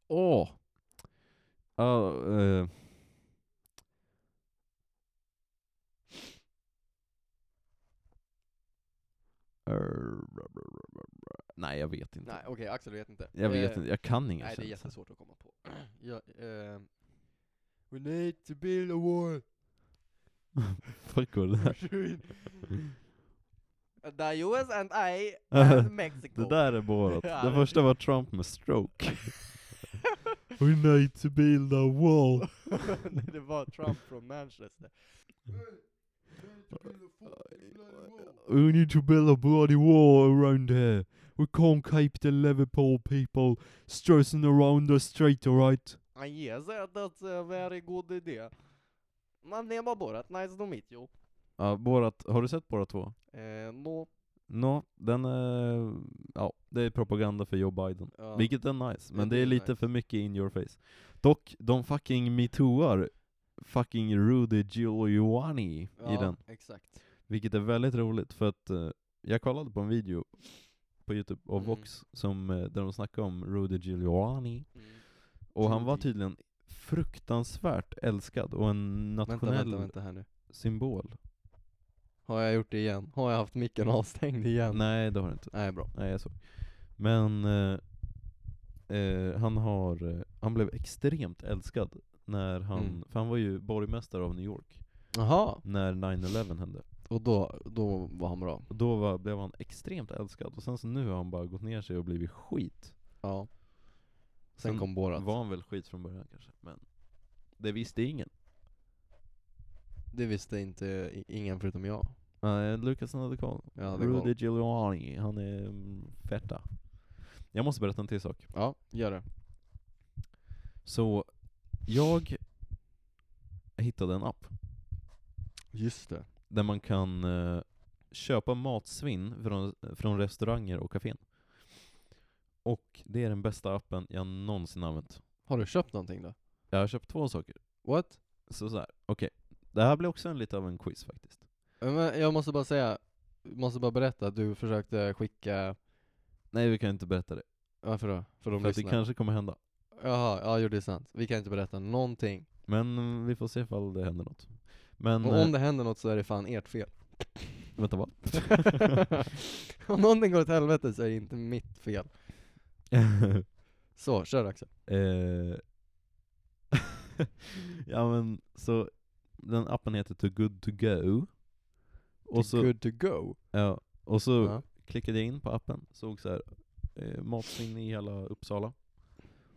[SPEAKER 1] Åh! Ja, eh. Err, Nej, jag vet inte.
[SPEAKER 2] Nej, okej, Axel vet inte.
[SPEAKER 1] Jag vet
[SPEAKER 2] Eh,
[SPEAKER 1] inte, jag kan inget.
[SPEAKER 2] Nej, det är
[SPEAKER 1] känns
[SPEAKER 2] jättesvårt att komma på. ja, eh, We need to build a wall.
[SPEAKER 1] Fuck vad det där.
[SPEAKER 6] The US and I and Mexico.
[SPEAKER 1] Det där är borat.
[SPEAKER 6] Ja,
[SPEAKER 1] Det
[SPEAKER 6] det-
[SPEAKER 1] första var Trump med stroke. We need to build a wall.
[SPEAKER 2] Nej, det var Trump från Manchester.
[SPEAKER 1] We need to build a bloody wall around here. We can't keep the Liverpool people stressing around the street, alright?
[SPEAKER 2] Han ger sig att det är en very god idé.
[SPEAKER 6] Man är bara borat, nice to meet you.
[SPEAKER 1] Ja, Borat, har du sett Borat 2?
[SPEAKER 2] Eh, no.
[SPEAKER 1] Nå, den är... Ja, det är propaganda för Joe Biden.
[SPEAKER 2] Ja.
[SPEAKER 1] Vilket är nice,
[SPEAKER 2] Ja,
[SPEAKER 1] men
[SPEAKER 2] det
[SPEAKER 1] det är
[SPEAKER 2] är
[SPEAKER 1] lite
[SPEAKER 2] nice.
[SPEAKER 1] för mycket in your face. Dock, de fucking metooar fucking Rudy Giuliani i
[SPEAKER 2] ja,
[SPEAKER 1] den.
[SPEAKER 2] exakt.
[SPEAKER 1] Vilket är väldigt roligt för att eh, jag kollade på en video på youtube av
[SPEAKER 2] Mm.
[SPEAKER 1] Vox som, eh, där de snackade om Rudy Giuliani
[SPEAKER 2] Mm.
[SPEAKER 1] och han var
[SPEAKER 2] Rudy.
[SPEAKER 1] tydligen fruktansvärt älskad och en
[SPEAKER 2] Vänta,
[SPEAKER 1] nationell
[SPEAKER 2] vänta, vänta här nu.
[SPEAKER 1] symbol.
[SPEAKER 2] Har jag gjort det igen? Har jag haft micken avstängd igen?
[SPEAKER 1] Nej det har det inte.
[SPEAKER 2] Nej, bra.
[SPEAKER 1] Nej jag såg. Men eh, eh, han har, eh, han blev extremt älskad när han,
[SPEAKER 2] Mm.
[SPEAKER 1] för han var ju borgmästare av New York
[SPEAKER 2] Jaha,
[SPEAKER 1] när 9-11 hände.
[SPEAKER 2] och då, då var han bra.
[SPEAKER 1] Och då var, blev han extremt älskad och sen så nu har han bara gått ner sig och blivit skit.
[SPEAKER 2] Ja. Sen,
[SPEAKER 1] Sen
[SPEAKER 2] kom Borat.
[SPEAKER 1] var han väl skit från början kanske, men det visste ingen.
[SPEAKER 2] Det visste inte i- ingen förutom jag.
[SPEAKER 1] Nej, Lukas hade koll.
[SPEAKER 2] Jag hade
[SPEAKER 1] Rudy
[SPEAKER 2] koll.
[SPEAKER 1] Giuliani, han är mm, fetta. Jag måste berätta en till sak.
[SPEAKER 2] Ja, gör det.
[SPEAKER 1] Så, jag hittade en app
[SPEAKER 2] Just det.
[SPEAKER 1] där man kan eh, köpa matsvinn från, från restauranger och kafén. Och det är den bästa appen jag någonsin använt.
[SPEAKER 2] Har du köpt någonting då?
[SPEAKER 1] Jag har köpt två saker.
[SPEAKER 2] What?
[SPEAKER 1] Så, så här, okej. Det här blir också en, lite av en quiz faktiskt.
[SPEAKER 2] Eh, Men jag måste bara säga, måste bara berätta att du försökte skicka,
[SPEAKER 1] Nej, vi kan inte berätta det.
[SPEAKER 2] varför då? För de
[SPEAKER 1] För att det
[SPEAKER 2] lyssnar.
[SPEAKER 1] kanske kommer hända.
[SPEAKER 2] Jaha, ja jo det är sant. Vi kan inte berätta någonting.
[SPEAKER 1] Men eh, vi får se ifall det händer något. Men,
[SPEAKER 2] Och om
[SPEAKER 1] eh,
[SPEAKER 2] det händer något så är det fan ert fel.
[SPEAKER 1] vänta vad?
[SPEAKER 2] om någonting går åt helvete så är det inte mitt fel. Så, kör Axel.
[SPEAKER 1] Eh, ja men, så den appen heter Too Good To Go. Och så, Oh.
[SPEAKER 2] Good to go.
[SPEAKER 1] ja, och så
[SPEAKER 2] Ja.
[SPEAKER 1] klickade jag in på appen, såg så här, eh, matsvinn i hela Uppsala.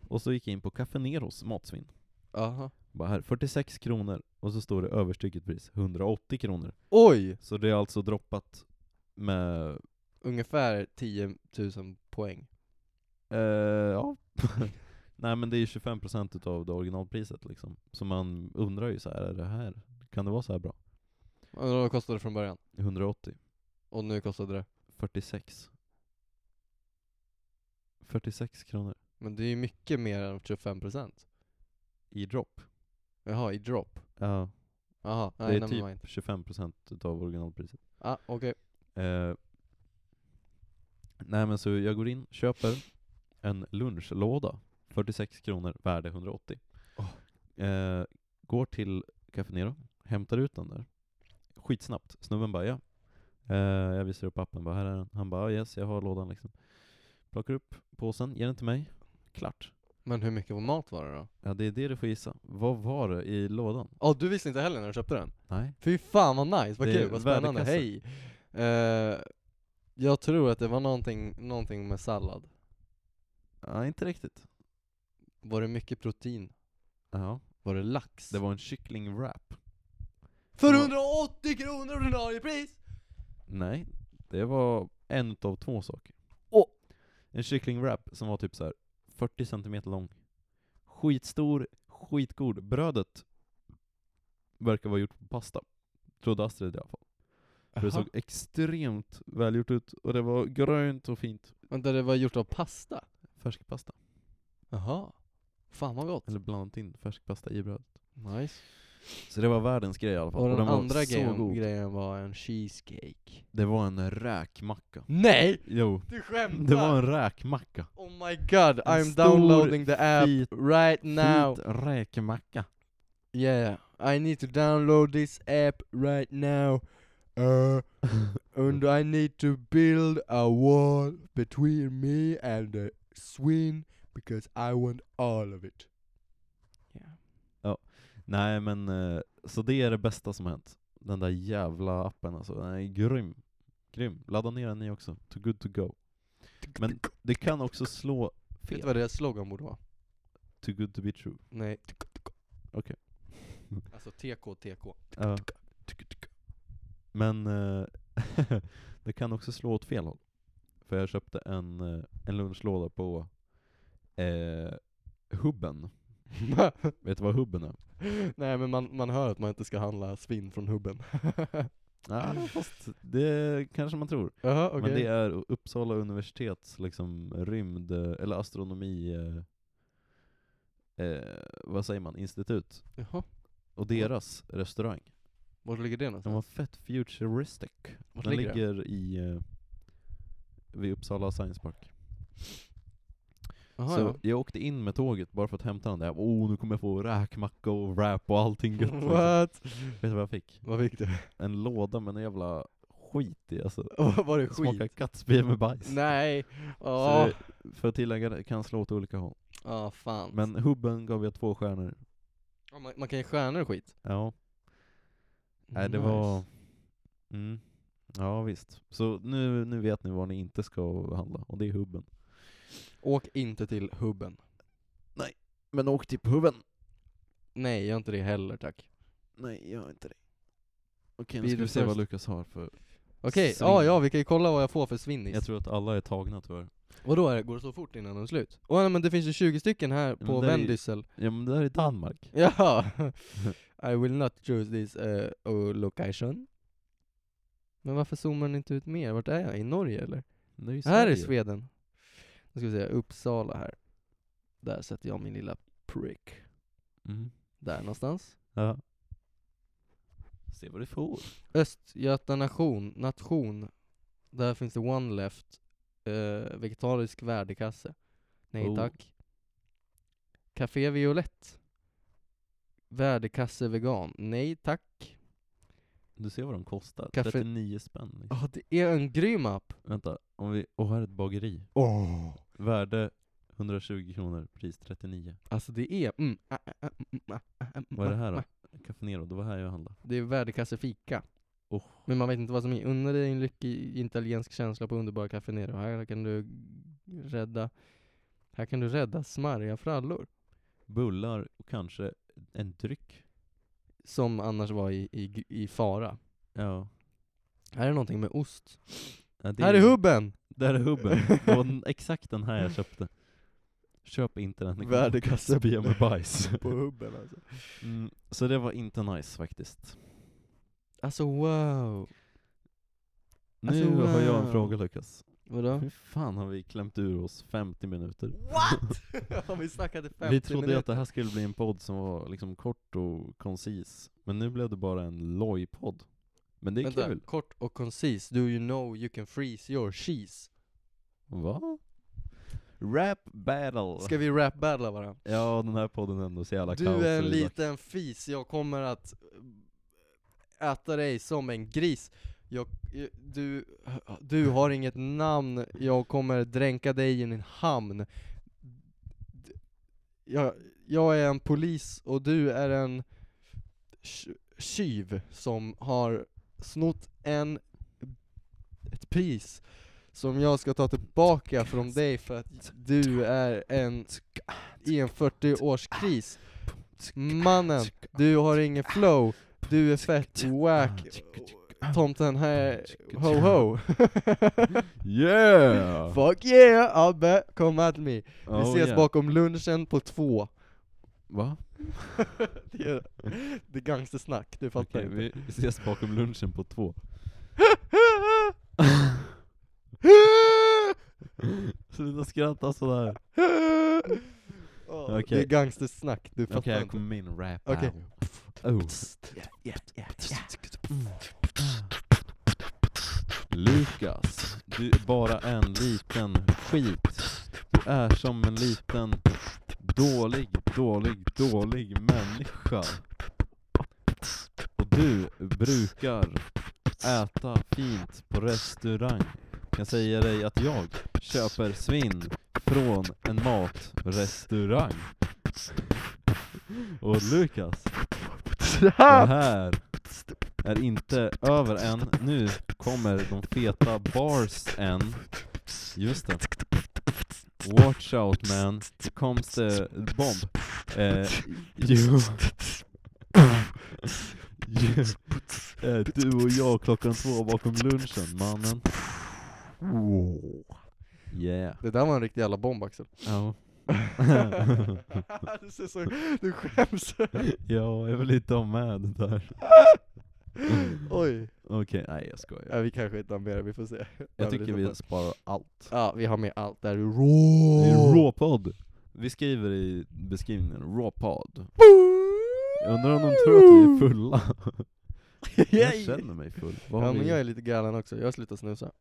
[SPEAKER 1] Och så gick jag in på Café Neros matsvinn.
[SPEAKER 2] Aha.
[SPEAKER 1] Bara här, 46 kronor. Och så står det överstycket pris, 180 kronor.
[SPEAKER 2] Oj!
[SPEAKER 1] Så det är alltså droppat med,
[SPEAKER 2] Ungefär 10 000 poäng.
[SPEAKER 1] eh, ja. Nej men det är ju 25% utav det originalpriset liksom. Så man undrar ju så här, är det här, kan det vara så här bra?
[SPEAKER 2] Och Vad kostade det från början?
[SPEAKER 1] 180,
[SPEAKER 2] Och nu kostade det?
[SPEAKER 1] 46. 46 kronor
[SPEAKER 2] Men det är ju mycket mer än 25%.
[SPEAKER 1] i drop.
[SPEAKER 2] Jaha, i drop.
[SPEAKER 1] Ja,
[SPEAKER 2] Jaha,
[SPEAKER 1] det
[SPEAKER 2] nej,
[SPEAKER 1] är
[SPEAKER 2] never
[SPEAKER 1] typ
[SPEAKER 2] mind.
[SPEAKER 1] 25% utav originalpriset.
[SPEAKER 2] Ah, okej.
[SPEAKER 1] Eh, nej men så jag går in, köper en lunchlåda, 46 kronor, värde 180. Eh, går till Café Nero, hämtar ut den där. Skitsnabbt. Snubben bara ja. Eh, jag visar upp appen, bara här är den. Han bara "Ah, yes, jag har lådan liksom. Plockar upp påsen, ger den till mig. Klart.
[SPEAKER 2] Men hur mycket mat var det då?
[SPEAKER 1] Ja det är det du får gissa. Vad var det i lådan?
[SPEAKER 2] Ja, du visste inte heller när du köpte den?
[SPEAKER 1] Nej.
[SPEAKER 2] Fy fan vad nice, vad
[SPEAKER 1] Det är
[SPEAKER 2] kul, vad spännande,
[SPEAKER 1] värdekasse.
[SPEAKER 2] hej! Eh, jag tror att det var någonting, någonting med sallad.
[SPEAKER 1] Ja, inte riktigt.
[SPEAKER 2] Var det mycket protein?
[SPEAKER 1] Ja,
[SPEAKER 2] Var det lax?
[SPEAKER 1] det var en kycklingwrap.
[SPEAKER 2] För 180 kronor ordinarie pris!
[SPEAKER 1] Nej, det var en av två saker.
[SPEAKER 2] Åh!
[SPEAKER 1] En kycklingwrap som var typ så här 40 centimeter lång. Skitstor, skitgod. Brödet verkar vara gjort på pasta. Trodde Astrid i alla fall. För det
[SPEAKER 2] Jaha.
[SPEAKER 1] såg extremt välgjort ut och det var grönt och fint.
[SPEAKER 2] Vänta, det var gjort av pasta?
[SPEAKER 1] Färskpasta.
[SPEAKER 2] Jaha. Fan vad gott.
[SPEAKER 1] Eller blandat in färskpasta i brödet.
[SPEAKER 2] Nice.
[SPEAKER 1] Så det var världens grej i alla fall.
[SPEAKER 2] Och den,
[SPEAKER 1] var
[SPEAKER 2] andra
[SPEAKER 1] så
[SPEAKER 2] grejen,
[SPEAKER 1] god.
[SPEAKER 2] grejen var en cheesecake.
[SPEAKER 1] Det var en räkmacka.
[SPEAKER 2] Nej!
[SPEAKER 1] Jo.
[SPEAKER 2] Du skämtar!
[SPEAKER 1] Det var en räkmacka.
[SPEAKER 2] Oh my god,
[SPEAKER 1] En
[SPEAKER 2] I'm
[SPEAKER 1] stor,
[SPEAKER 2] downloading the app
[SPEAKER 1] Fit,
[SPEAKER 2] right now.
[SPEAKER 1] fit räkmacka.
[SPEAKER 2] Yeah, I need to download this app right now. Uh, and I need to build a wall between me and the swing because I want all of it. Yeah.
[SPEAKER 1] Nej men, eh, så det är det bästa som hänt. Den där jävla appen alltså, den är grym. Grym. Ladda ner den ni också. Too good to go. Men det kan också slå
[SPEAKER 2] Vet du
[SPEAKER 1] fel.
[SPEAKER 2] vad deras slogan borde vara?
[SPEAKER 1] Too good to be true.
[SPEAKER 2] Nej.
[SPEAKER 1] Okej.
[SPEAKER 2] Alltså TK, TK.
[SPEAKER 1] Ja. Men eh, det kan också slå åt fel håll. För jag köpte en, eh, en lunchlåda på eh, Hubben. Vet du vad Hubben är?
[SPEAKER 2] Nej men man, man hör att man inte ska handla svinn från hubben.
[SPEAKER 1] Ja, fast det kanske man tror.
[SPEAKER 2] Jaha, okej.
[SPEAKER 1] Men det är Uppsala universitets liksom rymd, eller astronomi, eh, eh, vad säger man, institut.
[SPEAKER 2] Jaha,
[SPEAKER 1] Och deras restaurang.
[SPEAKER 2] vart ligger det
[SPEAKER 1] Den
[SPEAKER 2] någonstans?
[SPEAKER 1] var fett futuristic.
[SPEAKER 2] Vart
[SPEAKER 1] Den
[SPEAKER 2] ligger den?
[SPEAKER 1] ligger i, eh, vid Uppsala Science Park.
[SPEAKER 2] Jaha,
[SPEAKER 1] så
[SPEAKER 2] ja.
[SPEAKER 1] jag åkte in med tåget bara för att hämta den där, Jag bara, oh nu kommer jag få räkmacka och wrap och allting gött. liksom.
[SPEAKER 2] What?
[SPEAKER 1] Vet du vad jag fick?
[SPEAKER 2] Vad fick du?
[SPEAKER 1] En låda med en jävla skit i alltså.
[SPEAKER 2] Var det
[SPEAKER 1] Smakar
[SPEAKER 2] skit?
[SPEAKER 1] kattspy med bajs.
[SPEAKER 2] Nej!
[SPEAKER 1] Så
[SPEAKER 2] Åh,
[SPEAKER 1] det, för att tillägga det, kan slå åt olika håll.
[SPEAKER 2] oh, fan.
[SPEAKER 1] Men hubben gav jag två stjärnor.
[SPEAKER 2] Ja, man, man kan ge stjärnor och skit.
[SPEAKER 1] Ja, nej det
[SPEAKER 2] Nice.
[SPEAKER 1] var... Mm. Ja visst. Så nu, nu vet ni var ni inte ska handla, och det är hubben.
[SPEAKER 2] Åk inte till hubben.
[SPEAKER 1] Men åk till hubben!
[SPEAKER 2] Nej, gör inte det heller tack.
[SPEAKER 1] Nej, gör inte det. Okej,
[SPEAKER 2] Be
[SPEAKER 1] nu ska
[SPEAKER 2] the
[SPEAKER 1] vi se vad
[SPEAKER 2] first.
[SPEAKER 1] Lukas har för...
[SPEAKER 2] Okej,
[SPEAKER 1] Svinn.
[SPEAKER 2] ja ja vi kan ju kolla vad jag får för svinnis.
[SPEAKER 1] Jag tror att alla är tagna tyvärr.
[SPEAKER 2] Vadå är det, går det så fort innan de är slut? Åh nej men det finns ju 20 stycken här
[SPEAKER 1] men
[SPEAKER 2] på
[SPEAKER 1] det är ju-
[SPEAKER 2] Vendysel.
[SPEAKER 1] Ja men det här är Danmark.
[SPEAKER 2] Jaha! I will not choose this eh, uh, location. Men varför zoomar den inte ut mer? Vart är jag? I Norge eller?
[SPEAKER 1] Det är ju
[SPEAKER 2] Här är
[SPEAKER 1] Sverige.
[SPEAKER 2] Sweden. Nu ska vi se, Uppsala här. Där sätter jag min lilla prick.
[SPEAKER 1] Mm.
[SPEAKER 2] Där någonstans.
[SPEAKER 1] Ja. Se vad du får.
[SPEAKER 2] Östgöta nation, nation. Där finns det One Left. Eh, vegetarisk värdekasse. Nej
[SPEAKER 1] Oh.
[SPEAKER 2] tack. Café Violett. Värdekasse vegan. Nej tack.
[SPEAKER 1] Du ser vad de kostar.
[SPEAKER 2] Kaffe-
[SPEAKER 1] 39 spänn. Liksom.
[SPEAKER 2] Ja, det är en grym app.
[SPEAKER 1] Vänta, om vi... Och här är ett bageri.
[SPEAKER 2] Oh.
[SPEAKER 1] Värde 120 kronor, pris 39.
[SPEAKER 2] Alltså det är... Mm, ah, ah, ah, mm, ah, ah, mm,
[SPEAKER 1] Vad är det här
[SPEAKER 2] ah,
[SPEAKER 1] då?
[SPEAKER 2] ah.
[SPEAKER 1] Café Nero, det var här jag handlade.
[SPEAKER 2] Det är värdekasse fika.
[SPEAKER 1] Oh.
[SPEAKER 2] Men man vet inte vad som är. Unna dig en lycklig italiensk känsla på underbara Café Nero. Här kan du rädda... Här kan du rädda smarriga frallor.
[SPEAKER 1] Bullar och kanske en dryck.
[SPEAKER 2] Som annars var i, i, i fara.
[SPEAKER 1] Ja.
[SPEAKER 2] Här är någonting med ost.
[SPEAKER 1] ja det
[SPEAKER 2] här är hubben!
[SPEAKER 1] Där är hubben. Det var den- exakt den här jag köpte. Köp inte den.
[SPEAKER 2] Värdekasse
[SPEAKER 1] Bia med bajs.
[SPEAKER 2] på hubben alltså.
[SPEAKER 1] Mm, så det var inte nice faktiskt.
[SPEAKER 2] Alltså wow.
[SPEAKER 1] Nu
[SPEAKER 2] Alltså,
[SPEAKER 1] har jag en
[SPEAKER 2] wow.
[SPEAKER 1] fråga Lukas.
[SPEAKER 2] Vadå?
[SPEAKER 1] Hur fan har vi klämt ur oss 50 minuter?
[SPEAKER 6] What?
[SPEAKER 2] Ja, vi snackade 50
[SPEAKER 1] Vi trodde att det här skulle bli en podd som var liksom kort och koncis, men nu blev det bara en loj-podd. Men det är
[SPEAKER 2] Vänta,
[SPEAKER 1] kul.
[SPEAKER 2] kort och koncis. Do you know you can freeze your cheese?
[SPEAKER 1] Va? Rap battle!
[SPEAKER 2] Ska vi rap battla varandra?
[SPEAKER 1] Ja, den här podden är ändå så jävla kaos.
[SPEAKER 2] Du är en
[SPEAKER 1] Isak.
[SPEAKER 2] liten fis, jag kommer att eh, äta dig som en gris. Jag, eh, du, du har inget namn, jag kommer dränka dig i en hamn. Jag, jag är en polis och du är en tj- tjuv som har snott en, ett pris som jag ska ta tillbaka från dig för att du är en, i en 40-årskris. Mannen, du har ingen flow, du är fett wack, tomten här, ho ho.
[SPEAKER 1] Yeah!
[SPEAKER 2] Fuck yeah Abbe, come at me. Vi
[SPEAKER 1] Oh,
[SPEAKER 2] ses
[SPEAKER 1] yeah.
[SPEAKER 2] bakom lunchen på två.
[SPEAKER 1] Va?
[SPEAKER 2] Det är, det är gangstersnack, du fattar
[SPEAKER 1] Okej,
[SPEAKER 2] inte.
[SPEAKER 1] vi ses bakom lunchen på två. Sluta skratta sådär.
[SPEAKER 2] Ja,
[SPEAKER 1] Okej.
[SPEAKER 2] Det är gangstersnack, du fattar
[SPEAKER 1] Okej, jag
[SPEAKER 2] inte.
[SPEAKER 1] kommer med min rap
[SPEAKER 2] Okej.
[SPEAKER 1] här. Oh. Lukas, du är bara en liten skit. Du är som en liten dålig, dålig, dålig människa. Och du brukar äta fint på restaurang. Kan säga dig att jag köper svinn från en matrestaurang. Och Lukas, det här är inte över än. Nu kommer de feta bars än. Just det. Watch out man, Here comes the bomb. Eh, you. you. Eh, du och jag klockan två bakom lunchen, mannen. Yeah.
[SPEAKER 2] Det där var en riktig jävla bomb Axel.
[SPEAKER 1] Ja.
[SPEAKER 2] du, ser så, du skäms.
[SPEAKER 1] ja, jag vill inte ha med det där.
[SPEAKER 2] Oj.
[SPEAKER 1] Okej, nej jag skojar.
[SPEAKER 2] Ja, vi kanske inte har mer, vi får se.
[SPEAKER 1] Jag tycker vi sparar allt.
[SPEAKER 2] Ja, vi har med allt där.
[SPEAKER 1] Det
[SPEAKER 2] Raw.
[SPEAKER 1] är råpodd. Vi skriver i beskrivningen, råpodd. Jag undrar om de tror
[SPEAKER 2] Mm.
[SPEAKER 1] att vi är fulla. Jag känner mig full. Vad
[SPEAKER 2] Ja
[SPEAKER 1] har
[SPEAKER 2] men
[SPEAKER 1] vi?
[SPEAKER 2] jag är lite galen också, jag har slutat snusa.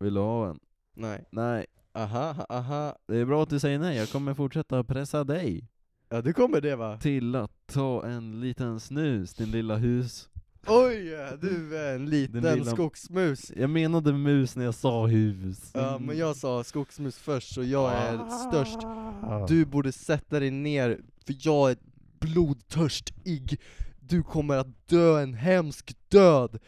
[SPEAKER 1] Vill du ha en?
[SPEAKER 2] Nej.
[SPEAKER 1] Nej,
[SPEAKER 2] Aha, ha, aha.
[SPEAKER 1] det är bra att du säger nej. Jag kommer fortsätta pressa dig
[SPEAKER 2] Ja du kommer det va?
[SPEAKER 1] till att ta en liten snus, din lilla hus.
[SPEAKER 2] Oj, du är en liten
[SPEAKER 1] Den lilla-
[SPEAKER 2] skogsmus.
[SPEAKER 1] Jag menade mus när jag sa hus.
[SPEAKER 2] Ja men jag sa skogsmus först så jag
[SPEAKER 1] Ah.
[SPEAKER 2] är störst. Ah. Du borde sätta dig ner, för jag är blodtörstig. Du kommer att dö en hemsk död.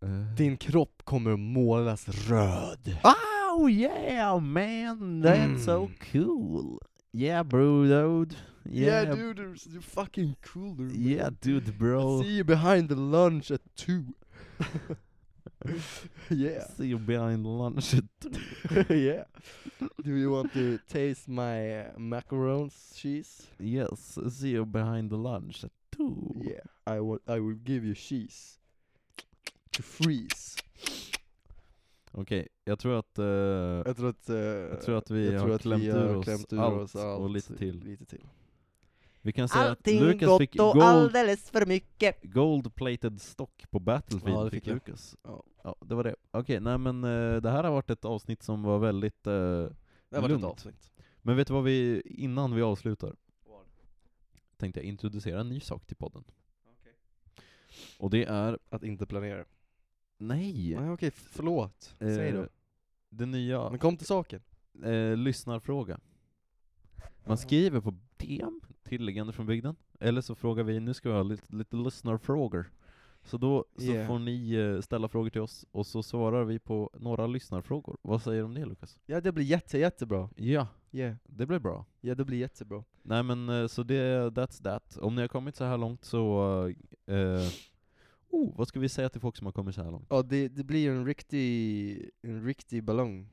[SPEAKER 1] Eh.
[SPEAKER 2] Din kropp kommer att målas röd.
[SPEAKER 1] Oh yeah man, that's
[SPEAKER 2] Mm.
[SPEAKER 1] so cool. Yeah bro dude. Yeah,
[SPEAKER 2] Yeah, dude, you're, you're fucking cool dude.
[SPEAKER 1] yeah dude bro.
[SPEAKER 2] See you behind the lunch at two. yeah,
[SPEAKER 1] See you behind lunch.
[SPEAKER 2] yeah. Do you want to taste my uh, macarons cheese?
[SPEAKER 1] Yes, see you behind the lunch. Too.
[SPEAKER 2] Yeah, I will. I will give you cheese to freeze.
[SPEAKER 1] Okej, jag tror att, eh, jag,
[SPEAKER 2] Jag tror att, eh,
[SPEAKER 1] tror att vi
[SPEAKER 2] jag
[SPEAKER 1] har
[SPEAKER 2] tror att
[SPEAKER 1] klämt
[SPEAKER 2] vi
[SPEAKER 1] ur
[SPEAKER 2] har
[SPEAKER 1] oss
[SPEAKER 2] klämt ur
[SPEAKER 1] allt,
[SPEAKER 2] oss allt
[SPEAKER 1] och lite till.
[SPEAKER 2] Lite till.
[SPEAKER 1] Vi kan säga
[SPEAKER 6] Allting
[SPEAKER 1] att Lukas
[SPEAKER 6] gott
[SPEAKER 1] fick
[SPEAKER 6] och
[SPEAKER 1] gold,
[SPEAKER 6] alldeles för mycket.
[SPEAKER 1] gold-plated stock på Battlefield,
[SPEAKER 2] Ja, det
[SPEAKER 1] fick
[SPEAKER 2] fick jag.
[SPEAKER 1] Lukas.
[SPEAKER 2] Ja.
[SPEAKER 1] Ja, det var det. Okej, nej men eh, det här har varit ett avsnitt som var väldigt eh,
[SPEAKER 2] Det var ett
[SPEAKER 1] Lugnt.
[SPEAKER 2] avsnitt.
[SPEAKER 1] Men vet du vad vi, innan vi avslutar, tänkte jag introducera en ny sak till podden. Och det är,
[SPEAKER 2] Att inte planera.
[SPEAKER 1] nej!
[SPEAKER 2] Nej okej, förlåt. Säg
[SPEAKER 1] eh,
[SPEAKER 2] då.
[SPEAKER 1] Det nya,
[SPEAKER 2] Men kom till saken.
[SPEAKER 1] eh, lyssnarfråga. Man skriver på DM till Legender från bygden, eller så frågar vi, nu ska vi ha lite, lite lyssnarfrågor. Så då så
[SPEAKER 2] Yeah.
[SPEAKER 1] får ni eh, ställa frågor till oss, och så svarar vi på några lyssnarfrågor. Vad säger du om det Lukas?
[SPEAKER 2] Ja det blir jätte, jättebra.
[SPEAKER 1] Ja,
[SPEAKER 2] Yeah.
[SPEAKER 1] det blir bra.
[SPEAKER 2] Ja det blir jättebra.
[SPEAKER 1] Nej men eh, så det, that's that. Om ni har kommit så här långt så, eh, oh, vad ska vi säga till folk som har kommit så här långt?
[SPEAKER 2] Ja det, det blir en riktig, en riktig ballong.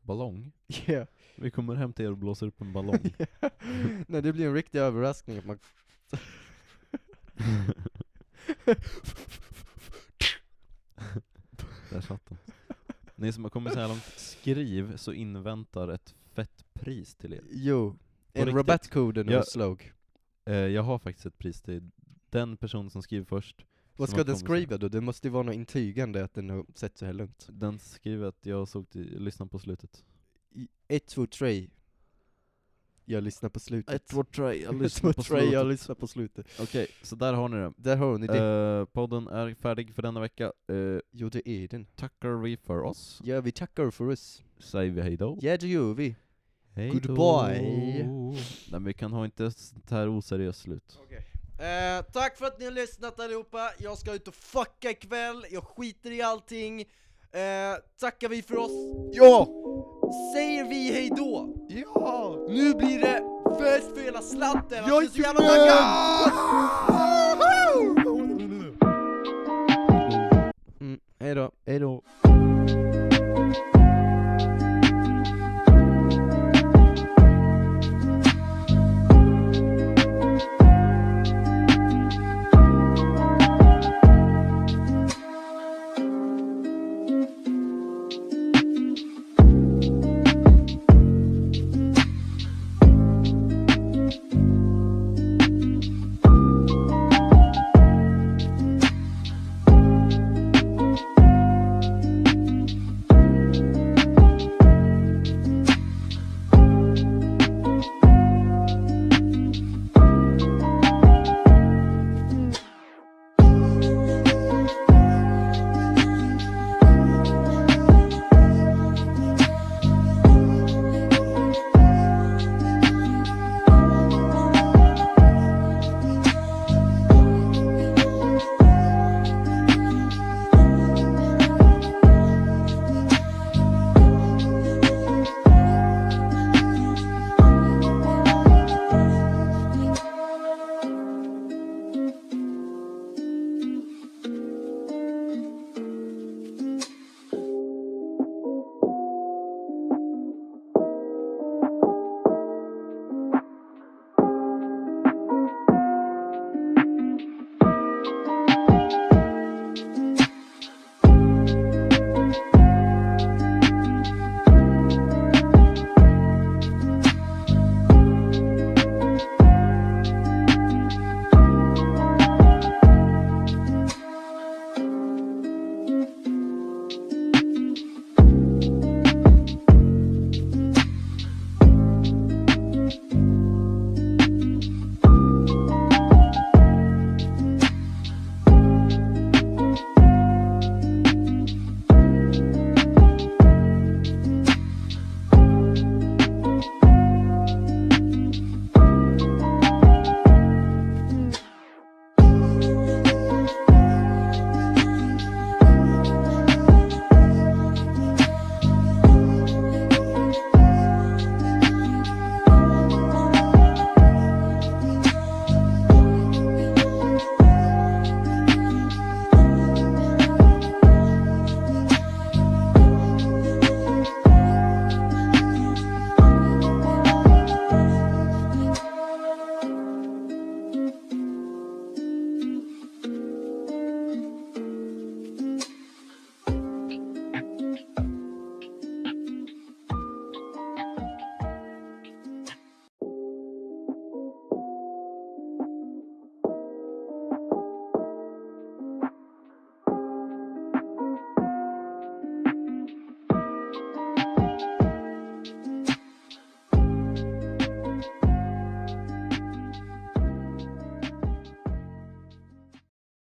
[SPEAKER 1] Ballong?
[SPEAKER 2] Yeah.
[SPEAKER 1] Vi kommer hem till er och blåser upp en ballong.
[SPEAKER 2] Nej det blir en riktig överraskning att man
[SPEAKER 1] Där satt den. Ni som har kommit så här långt, skriv så inväntar ett fett pris till er.
[SPEAKER 2] Jo, en
[SPEAKER 1] riktigt.
[SPEAKER 2] rabattkoden
[SPEAKER 1] Ja.
[SPEAKER 2] och slog.
[SPEAKER 1] Eh, jag har faktiskt ett pris till den person som skriver först.
[SPEAKER 2] Vad
[SPEAKER 1] som
[SPEAKER 2] ska
[SPEAKER 1] har
[SPEAKER 2] den
[SPEAKER 1] kommit så här-
[SPEAKER 2] skriva då? Det måste ju vara något intygande att den har sett så här lugnt.
[SPEAKER 1] Den skriver att jag såg till, lyssna på slutet.
[SPEAKER 2] Ett, två, tre. Jag lyssnar på slutet.
[SPEAKER 1] tre, jag
[SPEAKER 2] Ett, två, tre, jag lyssnar på slutet.
[SPEAKER 1] Okej, så där har ni det.
[SPEAKER 2] Där har ni det.
[SPEAKER 1] Eh, podden är färdig för denna vecka. Eh,
[SPEAKER 2] Jo, det är den.
[SPEAKER 1] tackar vi för oss.
[SPEAKER 2] Ja, vi tackar för oss.
[SPEAKER 1] Säger vi hejdå.
[SPEAKER 2] Ja, det gör vi.
[SPEAKER 1] Hej
[SPEAKER 2] goodbye.
[SPEAKER 1] Nej men vi kan ha inte sånt här oseriöst slut.
[SPEAKER 6] Eh, tack för att ni har lyssnat allihopa, jag ska ut och fucka ikväll, jag skiter i allting. Eh, tackar vi för oss. Ja! Säger vi hejdå? Ja! Nu blir det fest för hela slanten, jag är Alltså, så jävla taggad!
[SPEAKER 2] Oh,